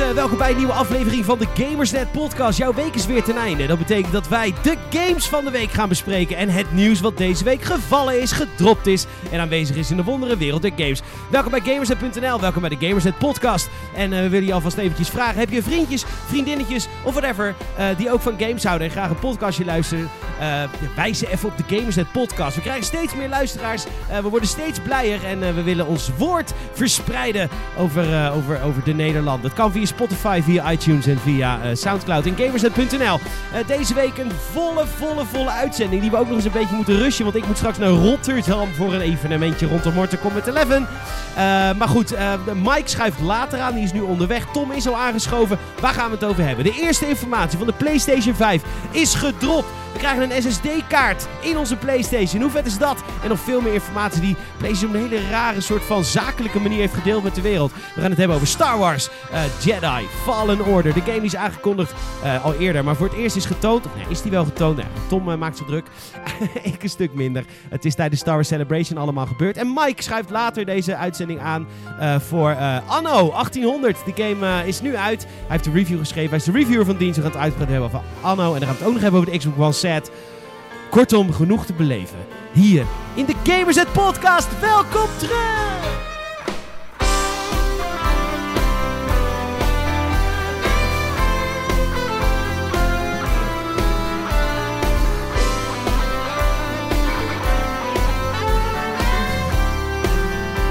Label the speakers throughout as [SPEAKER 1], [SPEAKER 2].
[SPEAKER 1] eh, welkom bij een nieuwe aflevering van de Gamersnet podcast. Jouw week is weer ten einde. Dat betekent dat wij de games van de week gaan bespreken en het nieuws wat deze week gevallen is, gedropt is en aanwezig is in de wondere wereld der games. Welkom bij Gamersnet.nl, welkom bij de Gamersnet podcast. En eh, we willen je alvast eventjes vragen, heb je vriendjes, vriendinnetjes of whatever eh, die ook van games houden en graag een podcastje luisteren? Eh, wijs ze even op de Gamersnet podcast. We krijgen steeds meer luisteraars, eh, we worden steeds blijer en eh, we willen ons woord verspreiden over, eh, over, over de Nederlanden. Dat kan via Spotify, via iTunes en via eh, Soundcloud en Gamersnet.nl. Eh, deze week een volle, volle, volle uitzending die we ook nog eens een beetje moeten rushen. Want ik moet straks naar Rotterdam voor een evenementje rondom Mortal Kombat 11. Eh, maar goed, eh, Mike schuift later aan. Die is nu onderweg. Tom is al aangeschoven. Waar gaan we het over hebben? De eerste informatie van de PlayStation 5 is gedropt. We krijgen een SSD-kaart in onze PlayStation. Hoe vet is dat? En nog veel meer informatie die PlayStation op een hele rare soort van zakelijke manier heeft gedeeld met de wereld. We gaan het hebben over Star Wars, eh, Jedi, Fallen Order. De game die is aangekondigd eh, al eerder, maar voor het eerst is getoond. Of nee, is die wel getoond? Nee, Tom eh, maakt zich druk. Ik een stuk minder. Het is tijdens Star Wars Celebration allemaal gebeurd. En Mike schuift later deze uitzending aan eh, voor eh, Anno 1800. Die game eh, is nu uit. Hij heeft de review geschreven. Hij is de reviewer van dienst. We gaan het uitgebreid hebben over Anno. En dan gaan we het ook nog hebben over de Xbox One set. Kortom, genoeg te beleven. Hier in de Gamers Net Podcast. Welkom terug!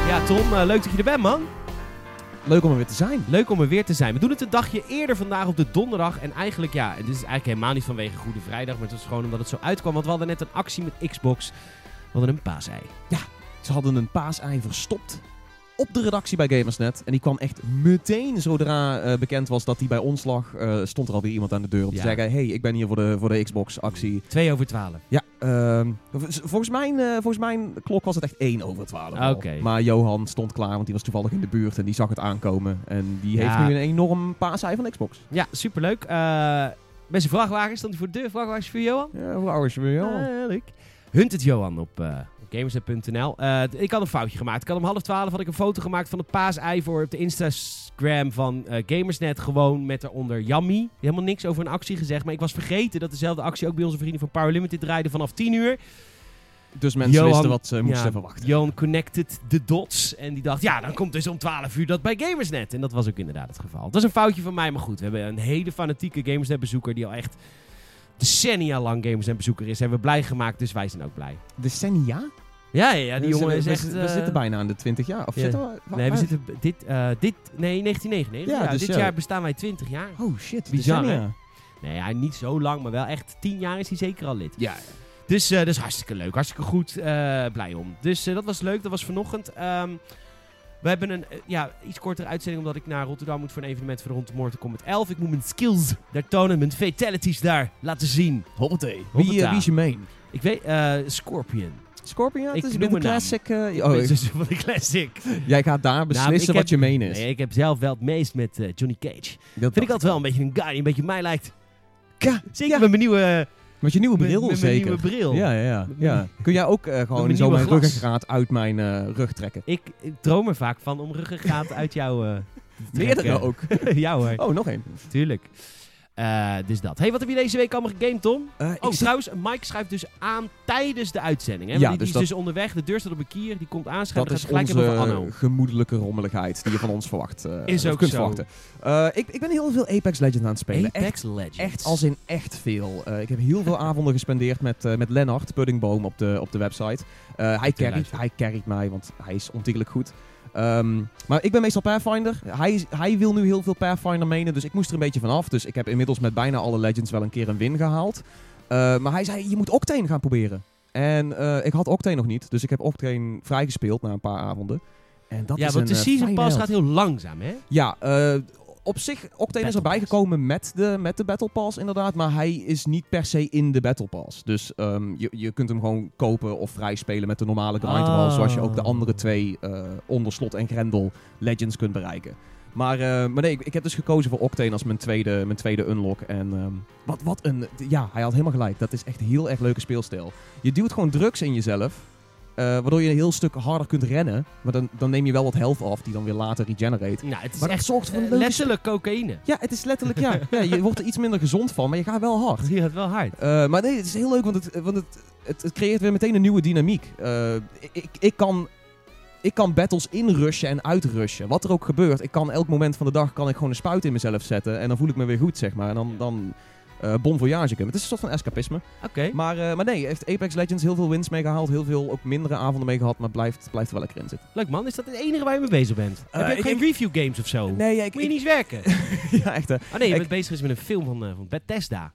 [SPEAKER 1] Ja, Tom, eh, leuk dat je er bent, man.
[SPEAKER 2] Leuk om er weer te zijn.
[SPEAKER 1] Leuk om er weer te zijn. We doen het een dagje eerder vandaag op de donderdag. En eigenlijk, ja, dit is eigenlijk helemaal niet vanwege Goede Vrijdag. Maar het was gewoon omdat het zo uitkwam. Want we hadden net een actie met Xbox. We hadden een paasei.
[SPEAKER 2] Ze hadden een paasei verstopt op de redactie bij Gamersnet. En die kwam echt meteen, zodra eh, bekend was dat die bij ons lag, eh, stond er alweer iemand aan de deur om
[SPEAKER 1] Ja.
[SPEAKER 2] te zeggen... hey, ik ben hier voor de, voor de Xbox-actie.
[SPEAKER 1] Twee over twaalf.
[SPEAKER 2] Ja, ehm, v- volgens, mijn, eh, volgens mijn klok was het echt 1 over 12. al.
[SPEAKER 1] Oké.
[SPEAKER 2] Maar Johan stond klaar, want die was toevallig in de buurt en die zag het aankomen. En die heeft
[SPEAKER 1] Ja.
[SPEAKER 2] nu een enorm paasei van Xbox.
[SPEAKER 1] Ja, superleuk. Eh met zijn vrachtwagen stond hij voor de deur. Vrachtwagens voor Johan.
[SPEAKER 2] Ja, hoe oud is je weer, Johan?
[SPEAKER 1] Eh, leuk. Hunt het Johan op eh, op gamers.nl. Eh, d- ik had een foutje gemaakt. Ik had om half twaalf had ik een foto gemaakt van het paasei voor op de Instagram van eh, Gamersnet. Gewoon met eronder Yummy. Helemaal niks over een actie gezegd. Maar ik was vergeten dat dezelfde actie ook bij onze vrienden van Power Limited draaide vanaf 10 uur.
[SPEAKER 2] Dus mensen
[SPEAKER 1] Johan-
[SPEAKER 2] wisten wat ze
[SPEAKER 1] Ja,
[SPEAKER 2] moesten verwachten.
[SPEAKER 1] Johan connected de dots. En die dacht, ja, dan komt dus om 12 uur dat bij Gamersnet. En dat was ook inderdaad het geval. Dat is een foutje van mij, maar goed. We hebben een hele fanatieke Gamersnet-bezoeker die al echt decennia lang Gamersnet-bezoeker is. Hebben we blij gemaakt, dus wij zijn ook blij.
[SPEAKER 2] Decennia?
[SPEAKER 1] Ja, ja, ja, die
[SPEAKER 2] We
[SPEAKER 1] jongen is
[SPEAKER 2] zitten-
[SPEAKER 1] echt...
[SPEAKER 2] we,
[SPEAKER 1] eh,
[SPEAKER 2] we zitten bijna aan de 20 jaar. Of
[SPEAKER 1] ja.
[SPEAKER 2] zitten we... wa-
[SPEAKER 1] Nee, we
[SPEAKER 2] waar-
[SPEAKER 1] zitten... b- Dit, eh, dit, nee, 1999. Ja,
[SPEAKER 2] Ja, dus
[SPEAKER 1] dit
[SPEAKER 2] ja.
[SPEAKER 1] jaar bestaan wij 20 jaar.
[SPEAKER 2] Oh shit,
[SPEAKER 1] Bizar,
[SPEAKER 2] decennia.
[SPEAKER 1] Nee, ja, niet zo lang, maar wel echt 10 jaar is hij zeker al lid.
[SPEAKER 2] Ja.
[SPEAKER 1] Dus eh, dat is hartstikke leuk, hartstikke goed. eh, blij om. Dus eh, dat was leuk, dat was vanochtend. Ehm, we hebben een eh, ja, iets kortere uitzending, omdat ik naar Rotterdam moet voor een evenement voor de Rond Morten Kombat 11. Ik moet mijn skills daar tonen, mijn fatalities daar laten zien.
[SPEAKER 2] Hoppatee. Wie,
[SPEAKER 1] Hoppata.
[SPEAKER 2] eh, wie is je main?
[SPEAKER 1] Ik weet, eh, Scorpion.
[SPEAKER 2] Scorpion?
[SPEAKER 1] Ik
[SPEAKER 2] Het is
[SPEAKER 1] noem
[SPEAKER 2] een beetje
[SPEAKER 1] een naam.
[SPEAKER 2] classic... eh,
[SPEAKER 1] Oh,
[SPEAKER 2] oh,
[SPEAKER 1] is dus van de classic.
[SPEAKER 2] jij gaat daar beslissen
[SPEAKER 1] ik
[SPEAKER 2] wat
[SPEAKER 1] heb-
[SPEAKER 2] je main is.
[SPEAKER 1] Nee, ik heb zelf wel het meest met eh, Johnny Cage.
[SPEAKER 2] dat
[SPEAKER 1] Vind ik altijd wel een beetje een guy die een beetje op mij lijkt.
[SPEAKER 2] Ja,
[SPEAKER 1] Zeker met mijn nieuwe,
[SPEAKER 2] Met je nieuwe
[SPEAKER 1] met-
[SPEAKER 2] bril
[SPEAKER 1] met mijn
[SPEAKER 2] zeker.
[SPEAKER 1] nieuwe bril.
[SPEAKER 2] Ja, ja, ja, ja. Kun jij ook eh,
[SPEAKER 1] mijn
[SPEAKER 2] gewoon zo
[SPEAKER 1] nieuwe
[SPEAKER 2] mijn
[SPEAKER 1] glas.
[SPEAKER 2] ruggengraat uit mijn eh, rug trekken?
[SPEAKER 1] Ik, ik droom er vaak van om ruggengraat uit jou eh, te
[SPEAKER 2] Meerdere
[SPEAKER 1] trekken.
[SPEAKER 2] ook.
[SPEAKER 1] ja hoor,
[SPEAKER 2] Oh, nog één.
[SPEAKER 1] tuurlijk. Eh, dus dat. hey, wat heb je deze week allemaal gegamed, Tom?
[SPEAKER 2] Eh, ik
[SPEAKER 1] Oh,
[SPEAKER 2] zit-
[SPEAKER 1] trouwens, Mike schrijft dus aan tijdens de uitzending. Hè?
[SPEAKER 2] Ja,
[SPEAKER 1] Want die,
[SPEAKER 2] dus
[SPEAKER 1] die is dus onderweg. De deur staat op een kier. Die komt aanschrijven.
[SPEAKER 2] dat
[SPEAKER 1] Dan
[SPEAKER 2] is
[SPEAKER 1] gaat het gelijk hebben over
[SPEAKER 2] onze
[SPEAKER 1] Anno.
[SPEAKER 2] gemoedelijke rommeligheid die je van ons verwacht. eh,
[SPEAKER 1] Is
[SPEAKER 2] of
[SPEAKER 1] ook
[SPEAKER 2] kunt
[SPEAKER 1] zo.
[SPEAKER 2] verwachten. Eh, ik, ik ben heel veel Apex Legends aan het spelen. Echt
[SPEAKER 1] Apex Legends.
[SPEAKER 2] Echt als in echt veel. Eh, ik heb heel veel avonden gespendeerd met, eh met Lennart Puddingboom op de, op de website. Eh, hij,
[SPEAKER 1] te
[SPEAKER 2] carryt,
[SPEAKER 1] luisteren.
[SPEAKER 2] hij carryt mij, want hij is ontiegelijk goed. Ehm, maar ik ben meestal Pathfinder. Hij, is- hij wil nu heel veel Pathfinder menen, dus ik moest er een beetje vanaf. Dus ik heb inmiddels met bijna alle Legends wel een keer een win gehaald. Eh, maar hij zei, je moet Octane gaan proberen. En eh, ik had Octane nog niet, dus ik heb Octane vrijgespeeld na een paar avonden. En dat
[SPEAKER 1] ja,
[SPEAKER 2] is
[SPEAKER 1] want
[SPEAKER 2] een,
[SPEAKER 1] de
[SPEAKER 2] eh,
[SPEAKER 1] season
[SPEAKER 2] fijne
[SPEAKER 1] pass
[SPEAKER 2] held.
[SPEAKER 1] gaat heel langzaam, hè?
[SPEAKER 2] Ja, eh, op zich, Octane is
[SPEAKER 1] Battle
[SPEAKER 2] erbij
[SPEAKER 1] Pass.
[SPEAKER 2] gekomen met de, met de Battle Pass inderdaad, maar hij is niet per se in de Battle Pass. Dus ehm, je, je kunt hem gewoon kopen of vrij spelen met de normale grindwall,
[SPEAKER 1] Ah.
[SPEAKER 2] zoals je ook de andere twee eh, onder slot en grendel Legends kunt bereiken. Maar, eh, maar nee, ik, ik heb dus gekozen voor Octane als mijn tweede, mijn tweede unlock. En ehm, wat, wat een... Ja, hij had helemaal gelijk. Dat is echt heel erg leuke speelstijl. Je duwt gewoon drugs in jezelf. Eh, waardoor je een heel stuk harder kunt rennen. Maar dan, dan neem je wel wat health af, die dan weer later regenerate.
[SPEAKER 1] Nou, het is
[SPEAKER 2] Maar dat
[SPEAKER 1] echt
[SPEAKER 2] zorgt voor een
[SPEAKER 1] eh,
[SPEAKER 2] leuke
[SPEAKER 1] letterlijk cocaïne.
[SPEAKER 2] Ja, het is letterlijk, ja. ja. Je wordt er iets minder gezond van, maar je gaat wel hard.
[SPEAKER 1] Die gaat wel hard.
[SPEAKER 2] Eh, maar nee, het is heel leuk, want het, want het, het, het creëert weer meteen een nieuwe dynamiek. Eh, ik- ik, ik, kan, ik kan battles inrushen en uitrushen. Wat er ook gebeurt, ik kan elk moment van de dag kan ik gewoon een spuit in mezelf zetten. En dan voel ik me weer goed, zeg maar. En dan, dan eh bon voyage ik hem. Het is een soort van escapisme.
[SPEAKER 1] Oké.
[SPEAKER 2] Maar, eh, maar nee, heeft Apex Legends heel veel wins mee gehaald. Heel veel ook mindere avonden mee gehad. Maar blijft, blijft er wel lekker in zitten.
[SPEAKER 1] Leuk man, is dat het enige waar je mee bezig bent? Heb je ook
[SPEAKER 2] Eh, ik-
[SPEAKER 1] geen review games of zo?
[SPEAKER 2] Nee, ja, ik...
[SPEAKER 1] Moet je
[SPEAKER 2] ik-
[SPEAKER 1] niet eens werken?
[SPEAKER 2] ja, echt hè.
[SPEAKER 1] Oh nee, je
[SPEAKER 2] Ik-
[SPEAKER 1] bent bezig is met een film van, eh, van Bethesda.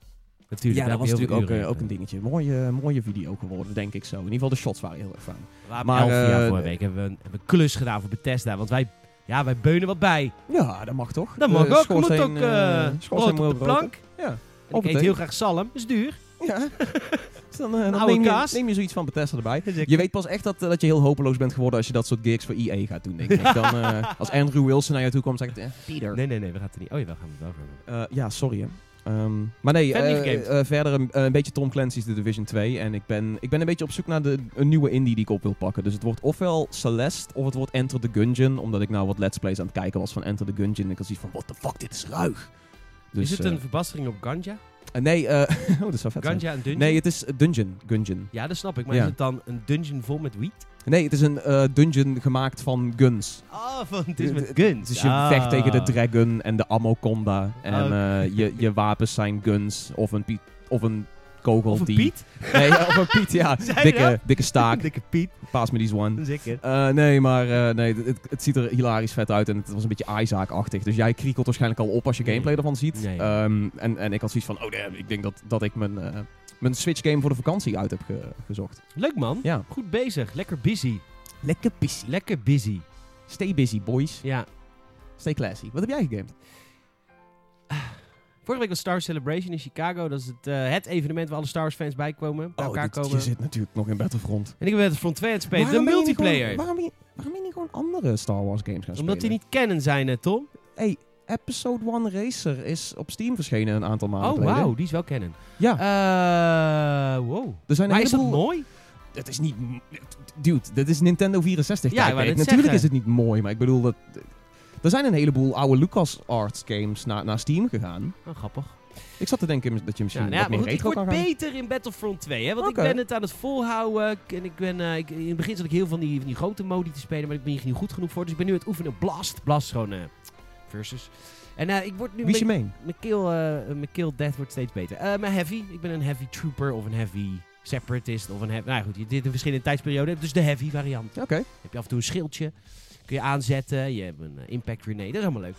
[SPEAKER 1] Natuurlijk,
[SPEAKER 2] Ja, dat was natuurlijk ook, eh,
[SPEAKER 1] een
[SPEAKER 2] ook een dingetje. Mooie, mooie video geworden, denk ik zo. In ieder geval de shots waren heel erg fijn.
[SPEAKER 1] maar
[SPEAKER 2] Maar,
[SPEAKER 1] elf jaar
[SPEAKER 2] eh,
[SPEAKER 1] vorige week hebben we, een, hebben we een klus gedaan voor Bethesda. Want wij, ja, wij beunen wat bij.
[SPEAKER 2] Ja, dat mag toch?
[SPEAKER 1] Dat
[SPEAKER 2] Eh,
[SPEAKER 1] mag ook. Je moet
[SPEAKER 2] schoorsteen,
[SPEAKER 1] ook
[SPEAKER 2] eh,
[SPEAKER 1] eh
[SPEAKER 2] schoorsteen
[SPEAKER 1] brood
[SPEAKER 2] moet
[SPEAKER 1] op de
[SPEAKER 2] ook roken.
[SPEAKER 1] plank.
[SPEAKER 2] Ja.
[SPEAKER 1] En ik
[SPEAKER 2] het
[SPEAKER 1] eet heel graag zalm. Is duur.
[SPEAKER 2] Ja. Dus dan, eh, dan
[SPEAKER 1] Oude
[SPEAKER 2] neem, je,
[SPEAKER 1] kaas.
[SPEAKER 2] neem je zoiets van Bethesda erbij.
[SPEAKER 1] Is ook-
[SPEAKER 2] Je weet pas echt dat, eh, dat je heel hopeloos bent geworden als je dat soort gigs voor EA gaat doen, denk ik. Dan, eh, als Andrew Wilson naar je toe komt, zeg ik eh, Peter.
[SPEAKER 1] Nee, nee, nee. We gaan het er niet... Oh ja, we gaan het wel gaan doen.
[SPEAKER 2] Eh, ja, sorry hè. Ehm, maar nee,
[SPEAKER 1] Verder niet
[SPEAKER 2] eh,
[SPEAKER 1] gegamed.
[SPEAKER 2] eh, verder een, een beetje Tom Clancy's The Division 2. En ik ben, ik ben een beetje op zoek naar de, een nieuwe indie die ik op wil pakken. Dus het wordt ofwel Celeste of het wordt Enter the Gungeon. Omdat ik nou wat let's plays aan het kijken was van Enter the Gungeon. En ik had zoiets van, what the fuck, dit is ruig. Dus,
[SPEAKER 1] is het
[SPEAKER 2] eh,
[SPEAKER 1] een verbastering op Ganja?
[SPEAKER 2] eh, nee, eh, oh, dat zou vet zijn.
[SPEAKER 1] Ganja, een dungeon?
[SPEAKER 2] Nee, het is eh, Dungeon. Gungeon.
[SPEAKER 1] Ja, dat snap ik. Maar
[SPEAKER 2] Ja.
[SPEAKER 1] is het dan een dungeon vol met wiet?
[SPEAKER 2] Nee, het is een eh, dungeon gemaakt van guns.
[SPEAKER 1] Ah, van, het is met
[SPEAKER 2] Het-
[SPEAKER 1] guns.
[SPEAKER 2] Dus je
[SPEAKER 1] Ah.
[SPEAKER 2] vecht tegen de dragon en de amoconda. En
[SPEAKER 1] Oh.
[SPEAKER 2] eh, je, je wapens zijn guns of een, piet, of een kogel
[SPEAKER 1] Of een
[SPEAKER 2] die...
[SPEAKER 1] Piet?
[SPEAKER 2] Nee, ja, of een Piet, ja.
[SPEAKER 1] Zei je
[SPEAKER 2] Dikke,
[SPEAKER 1] dat?
[SPEAKER 2] dikke staak.
[SPEAKER 1] Dikke Piet.
[SPEAKER 2] Paas me die one.
[SPEAKER 1] Zeker.
[SPEAKER 2] Eh, nee, maar eh, nee, het, het- het ziet er hilarisch vet uit en het was een beetje Isaac-achtig. Dus jij kriekelt waarschijnlijk al op als je
[SPEAKER 1] Nee.
[SPEAKER 2] gameplay ervan ziet.
[SPEAKER 1] Nee.
[SPEAKER 2] Ehm, en, en ik had zoiets van, oh damn, ik denk dat, dat ik mijn, eh, mijn Switch-game voor de vakantie uit heb ge- gezocht.
[SPEAKER 1] Leuk man.
[SPEAKER 2] Ja.
[SPEAKER 1] Goed bezig. Lekker busy.
[SPEAKER 2] Lekker busy.
[SPEAKER 1] Lekker busy.
[SPEAKER 2] Stay busy, boys.
[SPEAKER 1] Ja.
[SPEAKER 2] Stay classy. Wat heb jij gegamed?
[SPEAKER 1] Vorige week was Star Celebration in Chicago. Dat is het, eh, het evenement waar alle Star Wars fans bij komen. Bij elkaar
[SPEAKER 2] Oh, dit-
[SPEAKER 1] komen.
[SPEAKER 2] je zit natuurlijk nog in Battlefront.
[SPEAKER 1] En ik ben het Front 2 aan het spelen.
[SPEAKER 2] Waarom
[SPEAKER 1] de
[SPEAKER 2] ben je niet
[SPEAKER 1] multiplayer.
[SPEAKER 2] gewoon- waarom, ben je- waarom ben je niet gewoon andere Star Wars games gaan spelen?
[SPEAKER 1] Omdat die niet kennen zijn, hè, Tom.
[SPEAKER 2] Hey, Episode 1 Racer is op Steam verschenen een aantal maanden
[SPEAKER 1] oh,
[SPEAKER 2] geleden.
[SPEAKER 1] wauw. Die is wel kennen.
[SPEAKER 2] Ja.
[SPEAKER 1] Eh, wow.
[SPEAKER 2] Er zijn Ah. een
[SPEAKER 1] Maar is dat
[SPEAKER 2] heleboel...
[SPEAKER 1] mooi?
[SPEAKER 2] Het is niet... Dude, dit is Nintendo 64.
[SPEAKER 1] Ja,
[SPEAKER 2] kijk,
[SPEAKER 1] ik wou
[SPEAKER 2] kijk,
[SPEAKER 1] net
[SPEAKER 2] Natuurlijk
[SPEAKER 1] zeggen.
[SPEAKER 2] is het niet mooi, maar ik bedoel dat... eh, Er zijn een heleboel oude LucasArts games naar, naar Steam gegaan.
[SPEAKER 1] Oh, grappig.
[SPEAKER 2] Ik zat te denken dat je
[SPEAKER 1] Ja,
[SPEAKER 2] misschien
[SPEAKER 1] nou ja,
[SPEAKER 2] wat
[SPEAKER 1] maar
[SPEAKER 2] meer
[SPEAKER 1] goed, ik
[SPEAKER 2] retro
[SPEAKER 1] word
[SPEAKER 2] kan gaan.
[SPEAKER 1] beter in Battlefront 2, hè. Want
[SPEAKER 2] Oké.
[SPEAKER 1] ik ben het aan het volhouden. Ik- En ik ben... eh, ik, in het begin zat ik heel van die, van die grote modi te spelen. Maar ik ben hier niet goed genoeg voor. Dus ik ben nu aan het oefenen. op Blast. Blast is gewoon... eh, versus. En eh, ik word nu... een
[SPEAKER 2] Wie is je
[SPEAKER 1] beetje-
[SPEAKER 2] meen?
[SPEAKER 1] Mijn kill, eh, mijn kill death wordt steeds beter. Eh, mijn heavy. Ik ben een heavy trooper of een heavy separatist of een heavy... Nou ja, goed, je dit in verschillende tijdsperioden. hebt, Dus de heavy variant.
[SPEAKER 2] Oké.
[SPEAKER 1] Heb je af en toe een schildje. Kun je aanzetten. Je hebt een eh, impact grenade. Dat is allemaal leuk.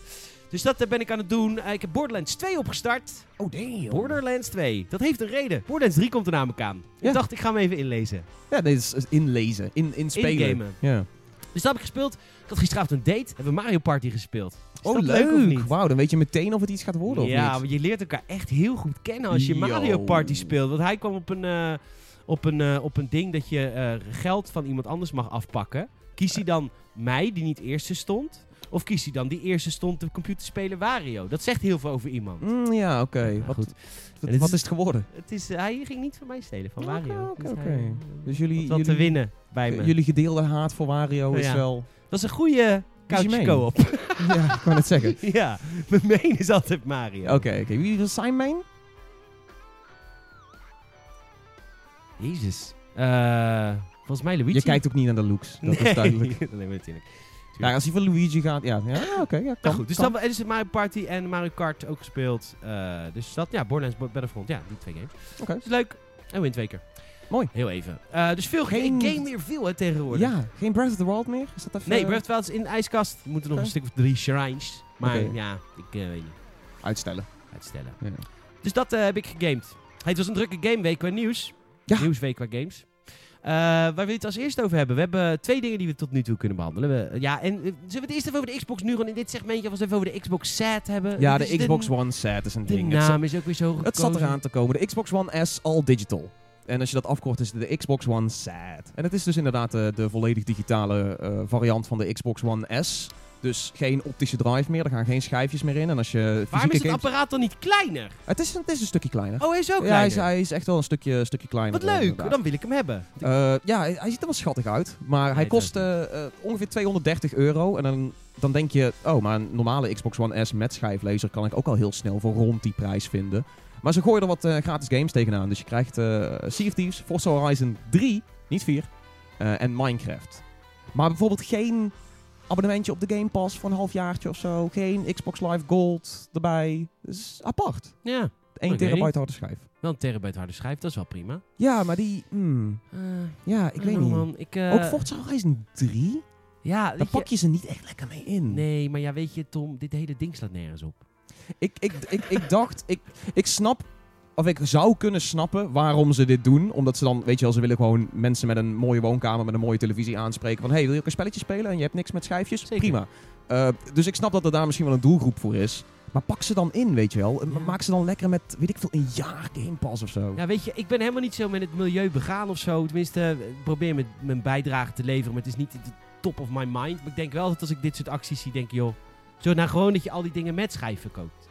[SPEAKER 1] Dus dat eh, ben ik aan het doen. Eh, ik heb Borderlands 2 opgestart.
[SPEAKER 2] Oh, damn.
[SPEAKER 1] Borderlands 2. Dat heeft een reden. Borderlands 3 komt er namelijk aan. Ik
[SPEAKER 2] Ja.
[SPEAKER 1] dacht, ik ga hem even inlezen.
[SPEAKER 2] Ja, dit is is inlezen. In, in spelen.
[SPEAKER 1] Ingamen.
[SPEAKER 2] Ja.
[SPEAKER 1] Dus dat heb ik gespeeld. Ik had gisteravond een date. Hebben we Mario Party gespeeld. Is
[SPEAKER 2] Oh,
[SPEAKER 1] dat of
[SPEAKER 2] leuk.
[SPEAKER 1] niet?
[SPEAKER 2] Wauw, dan weet je meteen of het iets gaat worden of
[SPEAKER 1] ja,
[SPEAKER 2] niet.
[SPEAKER 1] want je leert elkaar echt heel goed kennen als je
[SPEAKER 2] Yo.
[SPEAKER 1] Mario Party speelt. Want hij kwam op een, eh, op een, eh, op een ding dat je eh, geld van iemand anders mag afpakken. Kies hij dan mij, die niet eerste stond? Of kies hij dan die eerste stond de computerspeler Wario? Dat zegt heel veel over iemand.
[SPEAKER 2] Mm, ja, oké.
[SPEAKER 1] Nou,
[SPEAKER 2] Wat,
[SPEAKER 1] goed.
[SPEAKER 2] wat-
[SPEAKER 1] En dit
[SPEAKER 2] wat
[SPEAKER 1] is-
[SPEAKER 2] is het geworden?
[SPEAKER 1] Het is, hij ging niet van mij stelen, van
[SPEAKER 2] Oké,
[SPEAKER 1] Wario.
[SPEAKER 2] oké,
[SPEAKER 1] Dus hij,
[SPEAKER 2] oké.
[SPEAKER 1] eh,
[SPEAKER 2] Dus jullie-
[SPEAKER 1] had wat te
[SPEAKER 2] jullie-
[SPEAKER 1] winnen bij me.
[SPEAKER 2] Jullie gedeelde haat voor Wario is
[SPEAKER 1] Ja.
[SPEAKER 2] wel...
[SPEAKER 1] Dat is een goede couch
[SPEAKER 2] meen?
[SPEAKER 1] co-op.
[SPEAKER 2] ja, ik kan het zeggen.
[SPEAKER 1] ja, mijn main is altijd Mario.
[SPEAKER 2] Oké, oké. Wie wil zijn main?
[SPEAKER 1] Jezus. Eh, volgens mij Luigi.
[SPEAKER 2] Je kijkt ook niet naar de looks. Dat
[SPEAKER 1] Nee.
[SPEAKER 2] is duidelijk.
[SPEAKER 1] nee, maar natuurlijk.
[SPEAKER 2] Ja, als hij van Luigi gaat, ja. ja oké, ja, kan.
[SPEAKER 1] Nou goed, dus
[SPEAKER 2] kan.
[SPEAKER 1] dan is het Mario Party en Mario Kart ook gespeeld. Eh, dus dat, ja, Borderlands Bo- Battlefront, ja, die twee games.
[SPEAKER 2] Oké.
[SPEAKER 1] Dus leuk. En win twee keer.
[SPEAKER 2] Mooi.
[SPEAKER 1] Heel even. Eh, dus veel
[SPEAKER 2] Geen-
[SPEAKER 1] geen... game meer veel hè, tegenwoordig.
[SPEAKER 2] Ja, geen Breath of the Wild meer? Is dat even...
[SPEAKER 1] Nee, Breath of the Wild is in de ijskast. We moeten nog
[SPEAKER 2] Oké.
[SPEAKER 1] een stuk of drie shrines. Maar
[SPEAKER 2] Oké.
[SPEAKER 1] ja, ik eh, weet niet.
[SPEAKER 2] Uitstellen.
[SPEAKER 1] Uitstellen.
[SPEAKER 2] Ja.
[SPEAKER 1] Dus dat eh, heb ik gegamed. Hey, het was een drukke gameweek qua nieuws.
[SPEAKER 2] Ja.
[SPEAKER 1] Nieuwsweek qua games. Eh, waar wil je het als eerste over hebben? We hebben twee dingen die we tot nu toe kunnen behandelen. We, ja, en eh, zullen we het eerst even over de Xbox nu gewoon in dit segmentje of eens even over de Xbox Set hebben?
[SPEAKER 2] Ja,
[SPEAKER 1] Dus
[SPEAKER 2] de Xbox One set is een
[SPEAKER 1] De
[SPEAKER 2] ding. Het zat-
[SPEAKER 1] naam is ook weer zo
[SPEAKER 2] Het zat eraan te komen. De Xbox One S all digital. En als je dat afkort is het de Xbox One Z. En het is dus inderdaad eh, de volledig digitale eh, variant van de Xbox One S. Dus geen optische drive meer, er gaan geen schijfjes meer in. En als je
[SPEAKER 1] Waarom
[SPEAKER 2] fysieke
[SPEAKER 1] is het
[SPEAKER 2] games-
[SPEAKER 1] apparaat dan niet kleiner?
[SPEAKER 2] het, is, een- het is een stukje kleiner.
[SPEAKER 1] Oh, hij is ook
[SPEAKER 2] ja, hij
[SPEAKER 1] kleiner.
[SPEAKER 2] is, hij is echt wel een stukje, een stukje kleiner.
[SPEAKER 1] Wat
[SPEAKER 2] eh,
[SPEAKER 1] leuk, Oh,
[SPEAKER 2] inderdaad.
[SPEAKER 1] dan wil ik hem hebben.
[SPEAKER 2] Eh, ja, hij, hij ziet er wel schattig uit. Maar hij
[SPEAKER 1] het
[SPEAKER 2] kost eh, eh, ongeveer 230 euro. En dan, dan denk je, oh, maar een normale Xbox One S met schijflezer kan ik ook al heel snel voor rond die prijs vinden. Maar ze gooien er wat eh, gratis games tegenaan. Dus je krijgt eh Sea of Thieves, Forza Horizon 3, niet 4, eh, en Minecraft. Maar bijvoorbeeld geen abonnementje op de Game Pass voor een halfjaartje of zo. Geen Xbox Live Gold erbij. Dat is apart.
[SPEAKER 1] Ja,
[SPEAKER 2] 1
[SPEAKER 1] Oké.
[SPEAKER 2] terabyte harde schijf.
[SPEAKER 1] wel een terabyte harde schijf, dat is wel prima.
[SPEAKER 2] Ja, maar die... hmm,
[SPEAKER 1] Eh,
[SPEAKER 2] ja, ik
[SPEAKER 1] I
[SPEAKER 2] weet
[SPEAKER 1] don't
[SPEAKER 2] niet.
[SPEAKER 1] know, Man. Ik, eh,
[SPEAKER 2] Ook Forza Horizon 3?
[SPEAKER 1] Ja,
[SPEAKER 2] Daar
[SPEAKER 1] weet je-
[SPEAKER 2] pak je ze niet echt lekker mee in.
[SPEAKER 1] Nee, maar ja, weet je, Tom, dit hele ding slaat nergens op.
[SPEAKER 2] Ik, ik, ik, ik dacht, ik, ik snap, of ik zou kunnen snappen waarom ze dit doen. Omdat ze dan, weet je wel, ze willen gewoon mensen met een mooie woonkamer, met een mooie televisie aanspreken. Van, hey, wil je ook een spelletje spelen en je hebt niks met schijfjes?
[SPEAKER 1] Zeker.
[SPEAKER 2] Prima. Eh, dus ik snap dat er daar misschien wel een doelgroep voor is. Maar pak ze dan in, weet je wel. En
[SPEAKER 1] Ja.
[SPEAKER 2] Maak ze dan lekker met, weet ik veel, een jaar Game Pass of zo.
[SPEAKER 1] Ja, Nou, weet je, ik ben helemaal niet zo met het milieu begaan of zo. Tenminste, eh, ik probeer met mijn bijdrage te leveren, maar het is niet de top of my mind. Maar ik denk wel dat als ik dit soort acties zie, denk ik, joh, zo nou gewoon dat je al die dingen met schijf verkoopt.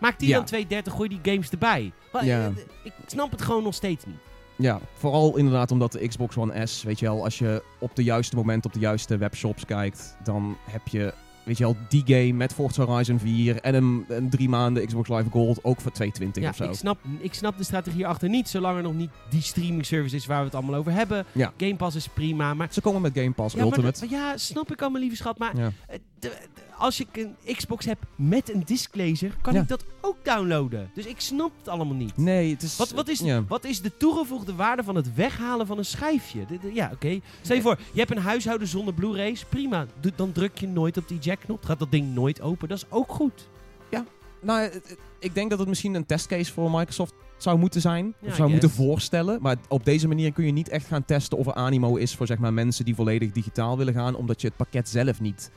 [SPEAKER 1] Maak die
[SPEAKER 2] Ja.
[SPEAKER 1] dan 230, gooi die games erbij. Maar, eh,
[SPEAKER 2] Ja.
[SPEAKER 1] Ik snap het gewoon nog steeds niet.
[SPEAKER 2] Ja, vooral inderdaad omdat de Xbox One S, weet je wel, als je op de juiste moment op de juiste webshops kijkt, dan heb je, weet je wel, die game met Forza Horizon 4 en een, een drie maanden Xbox Live Gold ook voor 220
[SPEAKER 1] Ja,
[SPEAKER 2] of zo.
[SPEAKER 1] ik, snap, ik snap de strategie achter niet, zolang er nog niet die streaming service is waar we het allemaal over hebben.
[SPEAKER 2] Ja.
[SPEAKER 1] Game Pass is prima, maar...
[SPEAKER 2] Ze komen met Game Pass
[SPEAKER 1] Ja, maar
[SPEAKER 2] Ultimate.
[SPEAKER 1] dat- ja, snap ik allemaal, lieve schat, maar
[SPEAKER 2] Ja.
[SPEAKER 1] Eh, de- de- als ik een Xbox heb met een disclaser, kan
[SPEAKER 2] Ja.
[SPEAKER 1] ik dat ook downloaden. Dus ik snap het allemaal niet.
[SPEAKER 2] Nee, het is...
[SPEAKER 1] Wat, wat, is,
[SPEAKER 2] ja.
[SPEAKER 1] wat is de toegevoegde waarde van het weghalen van een schijfje? De- de- ja, oké. Stel je voor, je hebt een huishouden zonder Blu-rays. Prima. Doe- dan druk je nooit op die jackknop. Gaat dat ding nooit open. Dat is ook goed.
[SPEAKER 2] Nou, eh, eh, ik denk dat het misschien een testcase voor Microsoft zou moeten zijn.
[SPEAKER 1] Ja,
[SPEAKER 2] of
[SPEAKER 1] I
[SPEAKER 2] zou moeten
[SPEAKER 1] guess.
[SPEAKER 2] voorstellen. Maar op deze manier kun je niet echt gaan testen of er animo is voor zeg maar, mensen die volledig digitaal willen gaan. Omdat je het pakket zelf niet...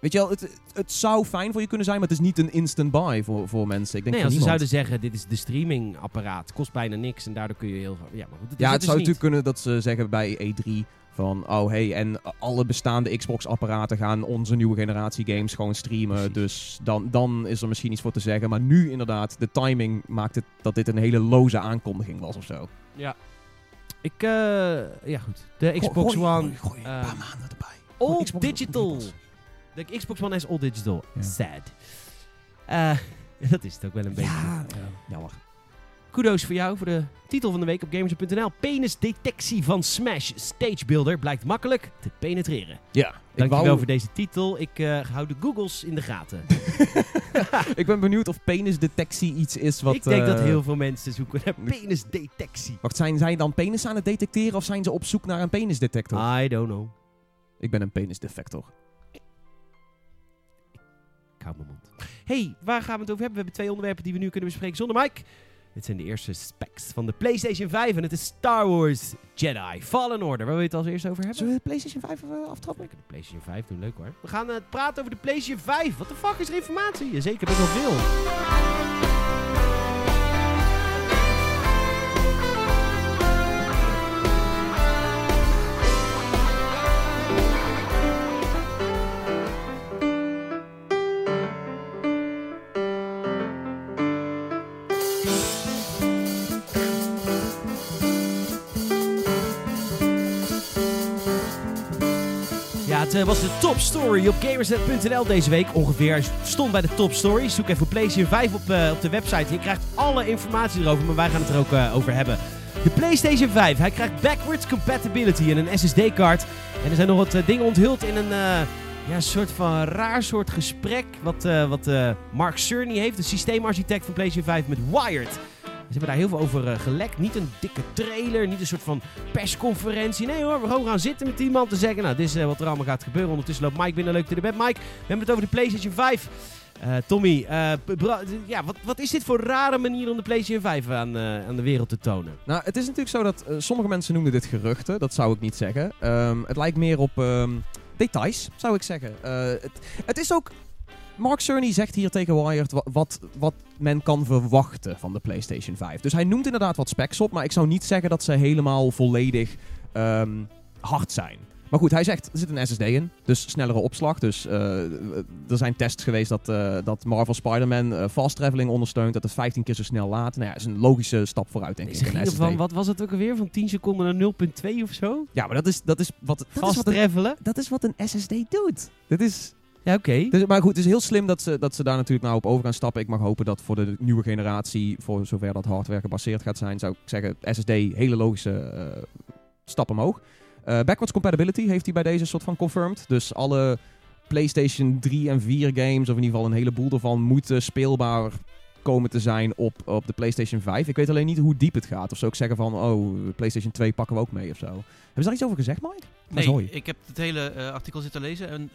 [SPEAKER 2] Weet je wel, het, het zou fijn voor je kunnen zijn, maar het is niet een instant buy voor, voor mensen. Ik denk
[SPEAKER 1] nee,
[SPEAKER 2] voor
[SPEAKER 1] als ze zouden
[SPEAKER 2] niemand.
[SPEAKER 1] zeggen, dit is de streamingapparaat. Kost bijna niks en daardoor kun je heel... Ja, maar goed, dat is
[SPEAKER 2] Ja, het
[SPEAKER 1] dus
[SPEAKER 2] zou
[SPEAKER 1] niet.
[SPEAKER 2] natuurlijk kunnen dat ze zeggen bij E3 van... Oh, hey, en alle bestaande Xbox-apparaten gaan onze nieuwe generatie games gewoon streamen.
[SPEAKER 1] Precies.
[SPEAKER 2] Dus dan, dan is er misschien iets voor te zeggen. Maar nu inderdaad, de timing maakt het dat dit een hele loze aankondiging was of zo.
[SPEAKER 1] Ik, eh, ja goed. De Xbox
[SPEAKER 2] Gooi-
[SPEAKER 1] One
[SPEAKER 2] gooi- gooi een
[SPEAKER 1] eh,
[SPEAKER 2] paar maanden erbij. Gooi
[SPEAKER 1] All
[SPEAKER 2] Xbox op-
[SPEAKER 1] digital.
[SPEAKER 2] Xbox.
[SPEAKER 1] De Xbox One is all digital.
[SPEAKER 2] Ja.
[SPEAKER 1] Sad. Eh, dat is het ook wel een beetje.
[SPEAKER 2] Ja, jammer.
[SPEAKER 1] Kudos voor jou voor de titel van de week op gamers.nl. Penisdetectie van Smash Stage Builder blijkt makkelijk te penetreren.
[SPEAKER 2] Ja, ik,
[SPEAKER 1] Dankjewel
[SPEAKER 2] wou,
[SPEAKER 1] voor deze titel. Ik eh, hou de Googles in de gaten.
[SPEAKER 2] ik ben benieuwd of penisdetectie iets is wat...
[SPEAKER 1] ik denk dat
[SPEAKER 2] eh,
[SPEAKER 1] heel veel mensen zoeken naar penisdetectie.
[SPEAKER 2] Wacht, zijn zij dan penis aan het detecteren of zijn ze op zoek naar een penisdetector?
[SPEAKER 1] I don't know.
[SPEAKER 2] Ik ben een penisdetector.
[SPEAKER 1] Ik hou mijn mond. hey, waar gaan we het over hebben? We hebben twee onderwerpen die we nu kunnen bespreken zonder Mike. Dit zijn de eerste specs van de PlayStation 5 en het is Star Wars Jedi Fallen Order. Waar wil je het als eerste over hebben?
[SPEAKER 2] Zullen we de PlayStation 5 even aftrappen?
[SPEAKER 1] We kunnen de PlayStation 5 doen, leuk hoor. We gaan eh, praten over de PlayStation 5. Wat de fuck is er informatie? Jazeker, best wel veel. Ja, het eh, was de top story op gamersnet.nl deze week. Ongeveer Hij stond bij de top story. Zoek even PlayStation 5 op, eh, op de website. Je krijgt alle informatie erover, maar wij gaan het er ook eh, over hebben. De PlayStation 5, hij krijgt backwards compatibility en een SSD-kaart. En er zijn nog wat eh, dingen onthuld in een eh, ja, soort van raar soort gesprek. Wat, eh, wat eh, Mark Cerny heeft, de systeemarchitect van PlayStation 5, met Wired. Ze hebben daar heel veel over eh, gelekt. Niet een dikke trailer, niet een soort van persconferentie. Nee hoor, we gewoon gaan zitten met die man te zeggen. Nou, dit is eh, wat er allemaal gaat gebeuren. Ondertussen loopt Mike binnen, leuk dat je er bent. Mike, we hebben het over de PlayStation 5. Eh, Tommy, eh, p- bra- ja, wat, wat is dit voor rare manier om de PlayStation 5 aan, eh, aan de wereld te tonen?
[SPEAKER 2] Nou, het is natuurlijk zo dat eh, sommige mensen noemden dit geruchten. Dat zou ik niet zeggen. Ehm, het lijkt meer op ehm, details, zou ik zeggen. Eh, het, het is ook... Mark Cerny zegt hier tegen Wired wa- wat, wat men kan verwachten van de PlayStation 5. Dus hij noemt inderdaad wat specs op, maar ik zou niet zeggen dat ze helemaal volledig ehm, hard zijn. Maar goed, hij zegt, er zit een SSD in, dus snellere opslag. Dus eh, er zijn tests geweest dat, eh, dat Marvel Spider-Man eh, fast traveling ondersteunt, dat het 15 keer zo snel laat. Nou ja, is een logische stap vooruit, denk ik.
[SPEAKER 1] Ze
[SPEAKER 2] een
[SPEAKER 1] gingen
[SPEAKER 2] SSD.
[SPEAKER 1] van, wat was het ook alweer? Van 10 seconden naar 0,2 of zo?
[SPEAKER 2] Ja, maar dat is, dat is wat... Dat is
[SPEAKER 1] Fast
[SPEAKER 2] wat een-
[SPEAKER 1] travelen?
[SPEAKER 2] dat is wat een SSD doet. Dat is,
[SPEAKER 1] Ja, oké.
[SPEAKER 2] dus, maar goed, het is heel slim dat ze, dat ze daar natuurlijk nou op over gaan stappen. Ik mag hopen dat voor de nieuwe generatie, voor zover dat hardware gebaseerd gaat zijn, zou ik zeggen, SSD hele logische eh, stap omhoog. Eh, backwards compatibility heeft hij bij deze soort van confirmed. Dus alle PlayStation 3 en 4 games, of in ieder geval een heleboel ervan, moeten speelbaar komen te zijn op, op de PlayStation 5. Ik weet alleen niet hoe diep het gaat. Of zou ik zeggen van, oh, PlayStation 2 pakken we ook mee of zo. Hebben ze daar iets over gezegd, Mike? Dat is
[SPEAKER 3] Nee,
[SPEAKER 2] mooi.
[SPEAKER 3] ik heb het hele eh, artikel zitten lezen en